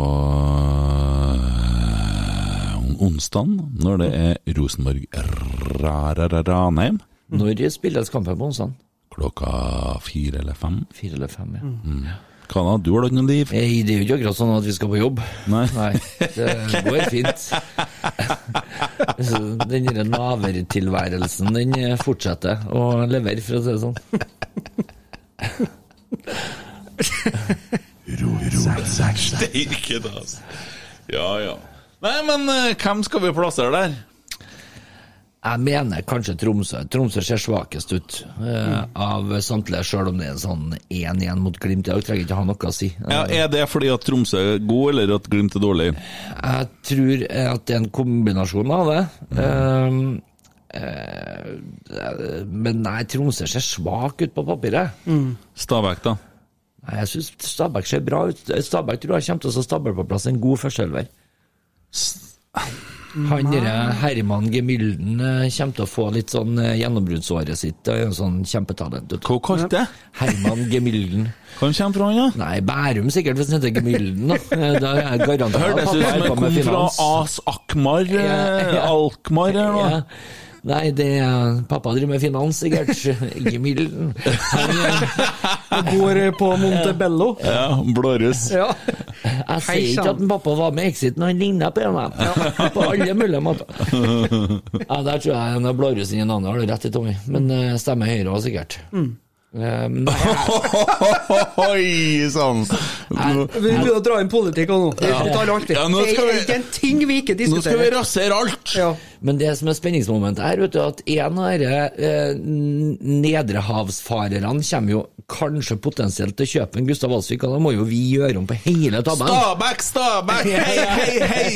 Speaker 1: uh, onsdag, når det er Rosenborg-Ranheim.
Speaker 4: Når spilles kampen på onsdag?
Speaker 1: Klokka fire eller fem.
Speaker 4: Fire eller fem, ja.
Speaker 2: Mm.
Speaker 1: Hva da, du har da ikke noe liv?
Speaker 4: Nei, det er jo ikke akkurat sånn at vi skal på jobb.
Speaker 1: Nei.
Speaker 4: det går fint. Så Den der navertilværelsen, den eh, fortsetter å levere, for å si det sånn.
Speaker 1: Steike, da, altså. Ja, ja. Nei, men eh, hvem skal vi plassere der?
Speaker 4: Jeg mener kanskje Tromsø. Tromsø ser svakest ut eh, av samtlige, sjøl om det er en sånn 1-1 mot Glimt i dag. Trenger ikke ha noe å si. Eh,
Speaker 1: Ja, er det fordi at Tromsø er god, eller at Glimt er dårlig?
Speaker 4: Jeg tror at det er en kombinasjon av det. Ehm, eh, men nei, Tromsø ser svak ut på papiret.
Speaker 1: Stabæk, da?
Speaker 4: Nei, Jeg syns Stabæk ser bra ut. Stabæk tror jeg kommer til å stable på plass en god førsteelver. Han derre Herman Gemylden eh, kommer til å få litt sånn eh, gjennombruddsåret sitt. Det er jo en sånn kjempetalent. vet du.
Speaker 1: Hva kalte det?
Speaker 4: Herman Gemylden.
Speaker 1: Hvor kommer han fra, da?
Speaker 4: Nei, Bærum sikkert, hvis han heter Gemylden, da. Eh, Da er jeg garantert
Speaker 1: Hørtes ut som en kom fra As Akmar, eh,
Speaker 4: Ja, ja.
Speaker 1: Alkmaar eller noe.
Speaker 4: Ja. Nei, det er Pappa driver med finans, sikkert. Gemylden. Han, eh,
Speaker 2: Jeg går eh, på Montebello.
Speaker 1: Ja, blåruss.
Speaker 2: Ja.
Speaker 4: Jeg
Speaker 2: Hei,
Speaker 4: sier ikke
Speaker 2: sann.
Speaker 4: at en pappa var med i Exit, men han ligna på en av dem. På alle mulige måter. Ja, der tror jeg en av blårussen i en annen har du rett i, Tommy. Men eh, stemmer Høyre også, sikkert. Eh, men
Speaker 1: Oi sånn. sann! Nå,
Speaker 2: Vi begynner å dra inn politikk og nå. Vi tar alltid.
Speaker 1: Ja, nå
Speaker 2: Det
Speaker 1: skal
Speaker 2: er
Speaker 1: vi-
Speaker 2: ikke en ting vi ikke
Speaker 1: nå skal vi
Speaker 2: diskuterer.
Speaker 1: rasere alt!
Speaker 2: Ja.
Speaker 4: Men det som er spenningsmomentet her, vet du, at en av dere eh, nedrehavsfarerne kommer jo kanskje potensielt til å kjøpe en Gustav Alsvik, og da må jo vi gjøre om på hele tabben.
Speaker 1: Stabæk, Stabæk, hei, hei, hei!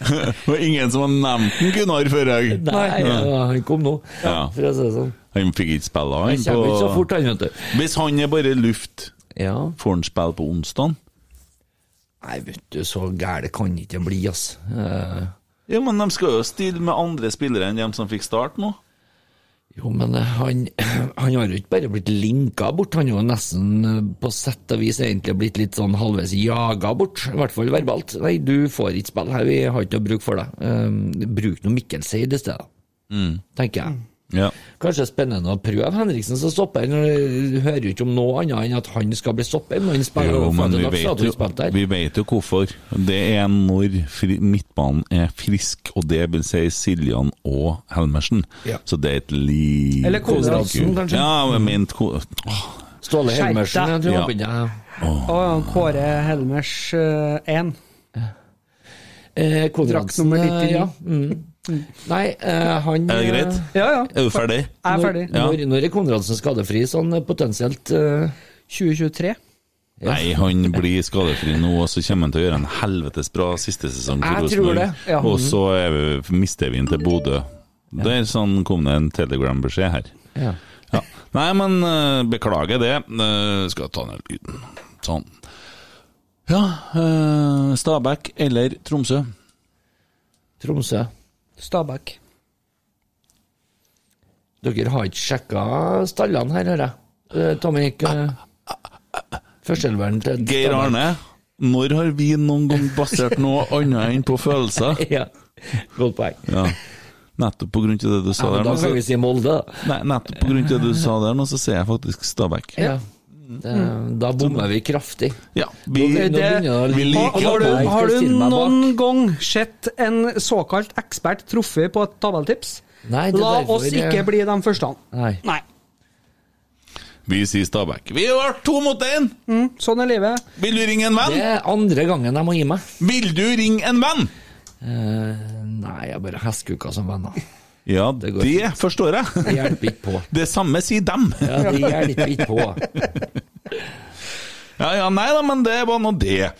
Speaker 1: Det var ingen som har nevnt den Gunnar før jeg.
Speaker 4: Nei, ja, han kom nå,
Speaker 1: Ja.
Speaker 4: for å si det sånn.
Speaker 1: Han fikk ikke spille,
Speaker 4: Han
Speaker 1: han.
Speaker 4: kommer ikke så
Speaker 1: På,
Speaker 4: fort, han, vet du.
Speaker 1: hvis han er bare luft,
Speaker 4: Ja.
Speaker 1: får han spille på onsdag?
Speaker 4: Nei, vet du, så gære kan det ikke bli, ass. Eh,
Speaker 1: Ja, men de skal jo stille med andre spillere enn dem som fikk start nå.
Speaker 4: jo, men eh, han, han har jo ikke bare blitt linka bort, han har jo nesten eh, på sett og vis egentlig blitt litt sånn halvveis jaga bort, i hvert fall verbalt. Nei, du får ikke
Speaker 1: Mm.
Speaker 2: Mm.
Speaker 4: spille her, vi har ikke noe bruk for deg. Eh, bruk nå Mikkelseid i stedet, tenker jeg.
Speaker 1: Ja.
Speaker 4: Kanskje spennende å prøve Henriksen som stopper. Du hører jo ikke om noe annet enn at han skal bli stopper, men han spiller
Speaker 1: Jo,
Speaker 4: jo,
Speaker 1: men vi
Speaker 4: vet
Speaker 1: vet, jo, vi vet jo hvorfor. Det er når fri, midtbanen er frisk, og det vil si Siljan og Helmersen.
Speaker 4: Ja.
Speaker 1: Så det er et lite
Speaker 2: Eller Konradsen, kanskje?
Speaker 1: Ja, men ment Ko- Åh,
Speaker 4: Ståle
Speaker 2: Skjerp
Speaker 4: Helmersen, jeg tror
Speaker 1: deg.
Speaker 4: han begynner.
Speaker 2: Å ja, Kåre Helmers eh, 1.
Speaker 4: Eh, Konradsen,
Speaker 2: Drakt nummer 99.
Speaker 4: eh, Ja. Mm. Nei, eh, han
Speaker 1: Er det
Speaker 4: eh,
Speaker 1: greit?
Speaker 2: Ja, ja.
Speaker 1: Er du ferdig?
Speaker 2: Jeg er
Speaker 4: når-
Speaker 2: ferdig.
Speaker 1: Ja.
Speaker 4: Når, når er Konradsen skadefri, sånn eh, potensielt? eh,
Speaker 2: 2023.
Speaker 1: Nei, han blir skadefri nå, og så kommer han til å gjøre en helvetes bra siste sesong for
Speaker 4: Jeg tror
Speaker 1: Rosenborg.
Speaker 4: det,
Speaker 2: ja.
Speaker 1: Og så er vi, mister vi han til Bodø. Der sånn kom det en telegram-beskjed her.
Speaker 4: ja.
Speaker 1: Ja. Nei, men eh, beklager det. Eh, skal jeg ta ned lyden. Sånn. Ja, eh, Stabæk eller Tromsø?
Speaker 4: Tromsø.
Speaker 2: Stabæk.
Speaker 4: Dere har ikke sjekka stallene her, hører jeg. Eh, Tommy gikk førsteelveren til
Speaker 1: Ah, Geir Arne, når har vi noen gang basert noe annet enn på følelser?
Speaker 4: Ja, godt poeng.
Speaker 1: Ja. Nettopp på grunn til det du
Speaker 4: Ja,
Speaker 1: sa
Speaker 4: men
Speaker 1: der.
Speaker 4: da
Speaker 1: nå, så-
Speaker 4: kan vi si Molde, da.
Speaker 1: Nei, nettopp på grunn til det du sa der nå, så sier jeg faktisk Stabæk.
Speaker 4: Ja. Eh, Da bommer vi kraftig.
Speaker 1: Ja, vi,
Speaker 4: Nå
Speaker 2: Det-
Speaker 4: begynner jeg å
Speaker 1: vi
Speaker 2: Har,
Speaker 1: liker
Speaker 4: Ja,
Speaker 2: har,
Speaker 4: jeg
Speaker 2: du,
Speaker 4: skal
Speaker 2: har du
Speaker 4: stille meg bak.
Speaker 2: noen gang sett en såkalt ekspert truffet på et tabelltips?
Speaker 4: Nei, det er
Speaker 2: La
Speaker 4: derfor
Speaker 2: oss
Speaker 4: jeg-
Speaker 2: ikke bli de første.
Speaker 4: Nei.
Speaker 2: Nei.
Speaker 1: Vi sier Stabæk. Vi har vært to mot én!
Speaker 2: Mm, sånn er livet.
Speaker 1: Vil du ringe en
Speaker 4: Det
Speaker 1: venn?
Speaker 4: er andre gangen jeg må gi meg.
Speaker 1: Vil du ringe en venn?
Speaker 4: Eh, Nei, jeg er bare heskuka som venner.
Speaker 1: Ja, det,
Speaker 4: Det går fint.
Speaker 1: forstår jeg.
Speaker 4: Det hjelper ikke på.
Speaker 1: Det samme sier dem.
Speaker 4: Ja, det hjelper ikke på.
Speaker 1: Ja, ja, nei da, men det var nå det.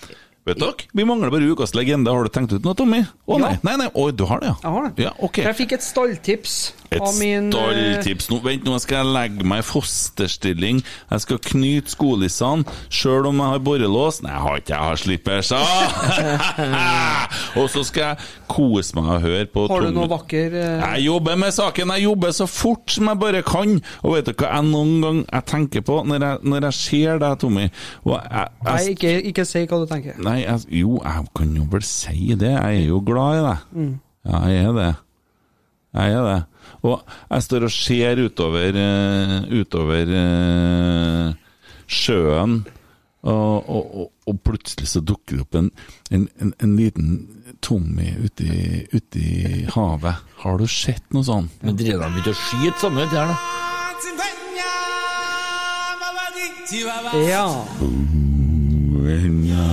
Speaker 1: Vet dere, vi mangler bare ukas legende. Har du tenkt ut noe, Tommy? Å nei,
Speaker 2: Ja.
Speaker 1: nei, nei, oi, du har det, ja?
Speaker 2: Jeg har det.
Speaker 1: Ja, ok.
Speaker 2: Jeg fikk et stalltips
Speaker 1: Et
Speaker 2: av min eh,
Speaker 1: stalltips nå, Vent, nå skal jeg legge meg i fosterstilling. Jeg skal knyte skolissene, sjøl om jeg har borrelås. Nei, jeg har ikke, jeg har slippers. Ah! og så skal jeg kose meg og høre på
Speaker 2: Har du
Speaker 1: Tom-
Speaker 2: noe vakker eh,
Speaker 1: Jeg jobber med saken, jeg jobber så fort som jeg bare kan. Og vet du hva jeg noen gang jeg tenker på når jeg, når jeg ser deg, Tommy? Og jeg,
Speaker 2: Nei,
Speaker 1: jeg,
Speaker 2: ikke, ikke si hva du tenker.
Speaker 1: nei, jeg, jo, jeg kan jo vel si det. Jeg er jo glad i deg. Ja, jeg er det. Jeg er det. Og jeg står og ser utover, eh, utover eh, sjøen, og, og, og, og plutselig så dukker det opp en, en, en, en liten Tommy ute i- ute i havet. Har du sett noe sånt?
Speaker 4: Men driver de ikke og skyter sammen ute her, da?
Speaker 2: Ja.
Speaker 1: Ja,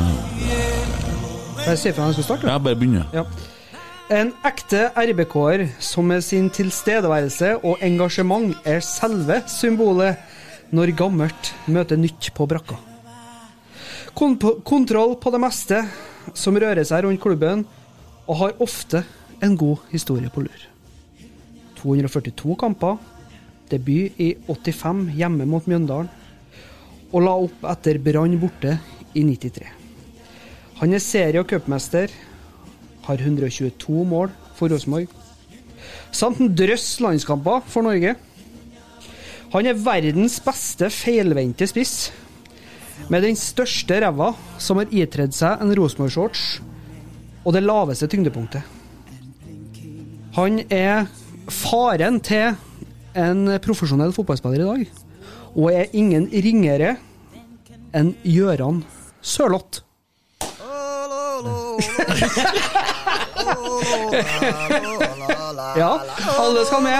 Speaker 2: Jeg sier fra når jeg skal starte.
Speaker 1: bare begynn.
Speaker 2: Ja. En ekte RBK-er som med sin tilstedeværelse og engasjement er selve symbolet når gammelt møter nytt på brakka. Kon kontroll på det meste som rører seg rundt klubben, og har ofte en god historie på lur. 242 kamper, debut i 85 hjemme mot Mjøndalen, og la opp etter Brann borte i 93. Han er serie- og cupmester, har 122 mål for Rosenborg. Samt en drøss landskamper for Norge. Han er verdens beste feilvendte spiss, med den største ræva som har itredd seg en Rosenborg-shorts, og det laveste tyngdepunktet. Han er faren til en profesjonell fotballspiller i dag, og er ingen ringere enn Gøran Sørloth. Ja, alle skal med.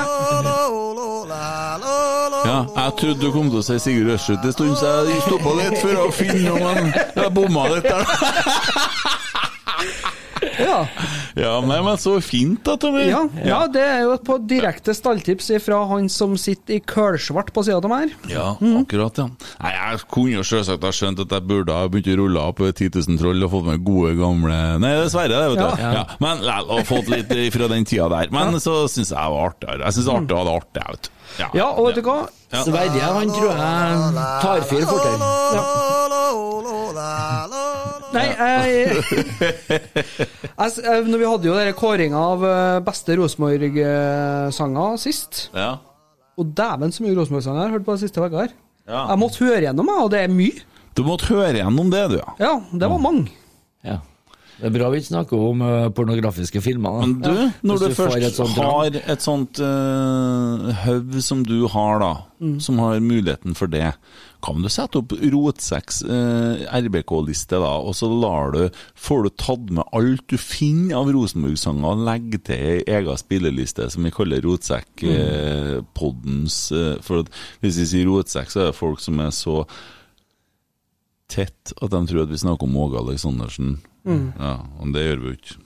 Speaker 1: Ja, jeg trodde du kom til å si Sigurd Ørset en stund, så jeg stoppa litt for å finne om han Jeg bomma litt der.
Speaker 2: Ja.
Speaker 1: Ja, nei, men så fint, da, Tommy.
Speaker 2: Ja, ja, det er jo et på direkte stalltips fra han som sitter i kølsvart på sida av meg her.
Speaker 1: Ja, akkurat, ja. Nei, jeg kunne jo selvsagt ha skjønt at jeg burde ha begynt å rulle opp 10 000 troll og fått meg gode, gamle Nei, dessverre, det, vet du.
Speaker 2: Ja.
Speaker 1: Ja. Men lell, og fått litt fra den tida der. Men så syns jeg det var artigere. Jeg syns det var artig å ha det artig, jeg, vet du.
Speaker 2: Ja, og vet du hva?
Speaker 1: Ja.
Speaker 4: Sverige, han tror jeg tar fyr fortere.
Speaker 2: Nei, jeg, jeg, s- eh, når Vi hadde jo denne kåringa av eh, beste Rosenborg-sanger sist.
Speaker 1: Ja.
Speaker 2: Og dæven så mye Rosenborg-sanger jeg har hørt på de siste uka her.
Speaker 1: Ja.
Speaker 2: Jeg måtte høre gjennom, jeg, og det er mye. Mm.
Speaker 1: Du måtte høre gjennom det, du, ja.
Speaker 2: Ja, det var mange.
Speaker 4: Ja. Det er bra vi ikke snakker om eh, pornografiske filmer. da.
Speaker 1: Men du,
Speaker 4: Ja.
Speaker 1: når
Speaker 4: Hvis
Speaker 1: du,
Speaker 4: får
Speaker 1: først
Speaker 4: et sånt drag.
Speaker 1: har et sånt eh, høv som du har, da, som har muligheten for det, kan du sette opp eh, Rotseks RBK-liste, da, og så lar du, får du tatt med alt du finner av Rosenborg-sanger, og legge til ei ega spilleliste som vi kaller Mm. Rotsekk-poddens eh, For at hvis vi sier Rotsekk, så er det folk som er så tett at de tror at vi snakker om Åge Aleksandersen. Ja, og det gjør vi jo ikke.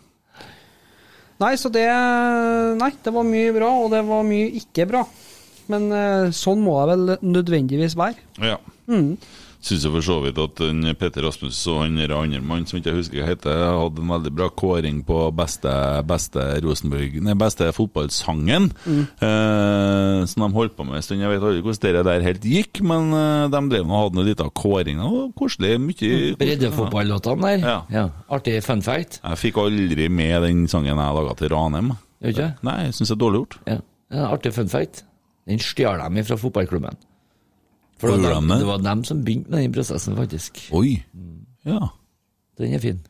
Speaker 2: Nei, så det eh, Nei, det var mye bra, og det var mye ikke bra. Men eh, sånn må det vel nødvendigvis være.
Speaker 1: Ja. Syns jeg for så vidt at den Petter Rasmus og han der andre mannen som ikke jeg husker hva heter, hadde en veldig bra kåring på beste, beste Rosenborg Nei, beste fotballsangen. Eh, som de holdt på med en stund. Jeg vet aldri hvordan det der helt gikk, men eh, de drev nå og hadde en liten kåring. Det var koselig. Mye
Speaker 4: Mm. Breddefotballåtene der.
Speaker 1: Ja.
Speaker 4: Artig fun fact.
Speaker 1: Jeg fikk aldri med den sangen jeg laga til Ranheim.
Speaker 4: Gjør ikke det?
Speaker 1: Nei, jeg syns det er dårlig gjort.
Speaker 4: Ja. Ja, Artig fun fact. Den stjal dem fra fotballklubben. For det var,
Speaker 1: Gjorde
Speaker 4: dem,
Speaker 1: de det?
Speaker 4: det var dem som begynte med den prosessen, faktisk.
Speaker 1: Oi. Ja.
Speaker 4: Den er fin.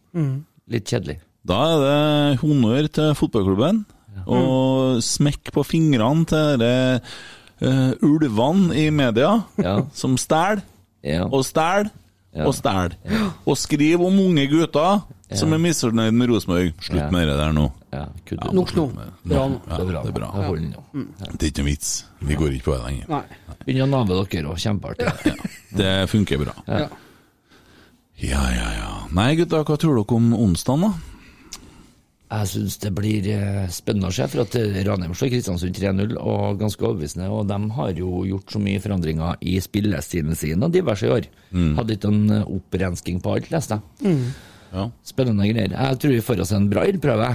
Speaker 4: Litt kjedelig.
Speaker 1: Da er det honnør til fotballklubben, og smekk på fingrene til dere eh, ulvene i media,
Speaker 4: Ja.
Speaker 1: som stjel
Speaker 4: Ja.
Speaker 1: og stjel
Speaker 4: Ja.
Speaker 1: og stjel. Og skriv om unge gutter som
Speaker 4: Ja.
Speaker 1: er misfornøyd med Rosenborg. Slutt
Speaker 4: Ja.
Speaker 1: med det der nå.
Speaker 4: ja, kutt ut.
Speaker 2: Nok nå. Bra nå.
Speaker 1: Ja, det er bra.
Speaker 4: Det holder nå.
Speaker 1: Det er ikke noe vits. Vi går ikke på det lenger.
Speaker 2: Nei.
Speaker 4: Begynn å nave dere òg, kjempeartig.
Speaker 1: Det funker bra.
Speaker 2: Ja.
Speaker 1: Ja, ja, ja. Nei, gutta, hva tror dere om onsdagen, da?
Speaker 4: Jeg syns det blir eh, spennende å se, for at eh, Ranheim slår Kristiansund 3-0, og ganske overbevisende. Og de har jo gjort så mye forandringer i spillestilen sin og diverse i år.
Speaker 1: Mm.
Speaker 4: Hadde ikke en eh, opprensking på alt, leste jeg.
Speaker 1: Ja.
Speaker 4: Spennende greier. Jeg tror vi får oss en bra ildprøve.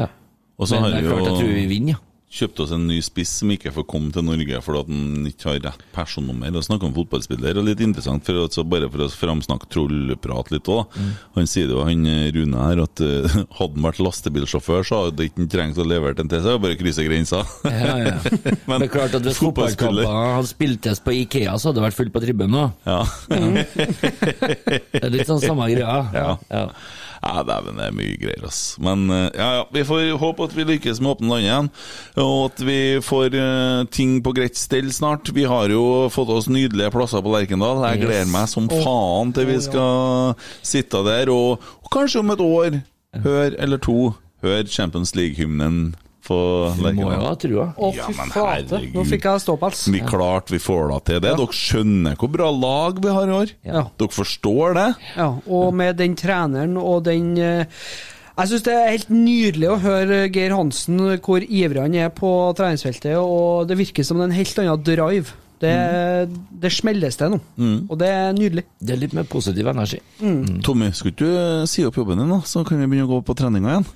Speaker 4: Ja.
Speaker 1: Og så
Speaker 4: Men
Speaker 1: har vi
Speaker 4: det er klart, jeg tror vi
Speaker 1: jo
Speaker 4: vinner, ja.
Speaker 1: kjøpt oss en ny spiss som ikke får komme til Norge fordi at han ikke har rett personnummer. Og snakker om fotballspiller, og litt interessant, for altså bare for å framsnakke trollprat litt òg.
Speaker 4: Mm.
Speaker 1: Han sier jo, han eh, Rune her, at eh, hadde han vært lastebilsjåfør, så hadde han ikke trengt å levere den til seg, og bare krysse grensa.
Speaker 4: Ja, ja. Men, det er klart at Hvis
Speaker 1: fotballspiller-
Speaker 4: fotballkamper hadde spiltes på Ikea, så hadde det vært fullt på tribunen òg.
Speaker 1: Ja.
Speaker 4: Mm. Det er litt sånn samme greia.
Speaker 1: Ja.
Speaker 4: Ja.
Speaker 1: Ja, dæven, det er mye greier, ass. Men eh, ja, ja, vi får håpe at vi lykkes med å åpne landet igjen, og at vi får eh, ting på greit stell snart. Vi har jo fått oss nydelige plasser på Lerkendal. Jeg
Speaker 4: Yes.
Speaker 1: gleder meg som faen til vi skal sitte der, og, og kanskje om et år, hør eller to, hør Champions League-hymnen på
Speaker 4: Du må jo
Speaker 1: Lerkendal.
Speaker 4: ha trua.
Speaker 2: Å,
Speaker 1: Ja,
Speaker 2: fy
Speaker 1: men
Speaker 2: flate. Nå
Speaker 1: herregud.
Speaker 2: fikk jeg ståpels.
Speaker 1: Vi klart vi får da til det. Dere skjønner hvor bra lag vi har i år.
Speaker 2: Ja.
Speaker 1: Dere forstår det.
Speaker 2: Ja, og med den treneren og den eh, Jeg syns det er helt nydelig å høre Geir Hansen hvor ivrig han er på treningsfeltet, og det virker som en helt annen drive. Det, det smelles til nå, og det er nydelig.
Speaker 4: Det er litt mer positiv energi.
Speaker 1: Tommy, skulle ikke du eh, si opp jobben din, da? Så kan vi begynne å gå på treninga igjen.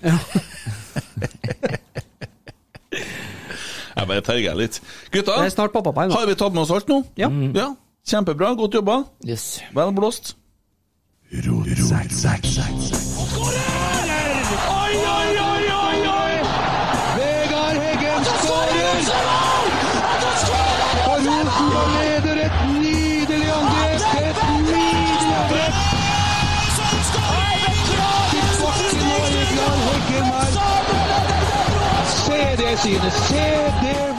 Speaker 1: jeg bare terger litt. Gutta,
Speaker 2: Det er snart pappaperm. da.
Speaker 1: har vi tatt med oss alt nå?
Speaker 2: Ja.
Speaker 1: ja. Kjempebra, godt jobba.
Speaker 4: Yes.
Speaker 1: Vel blåst.
Speaker 3: Oi, oi, oi, oi, oi! Vegard Heggen skårer! Og Rosenborg leder et nydelig angrep! Et nydelig angrep! Bakken og Heggen er Se det synet! Se det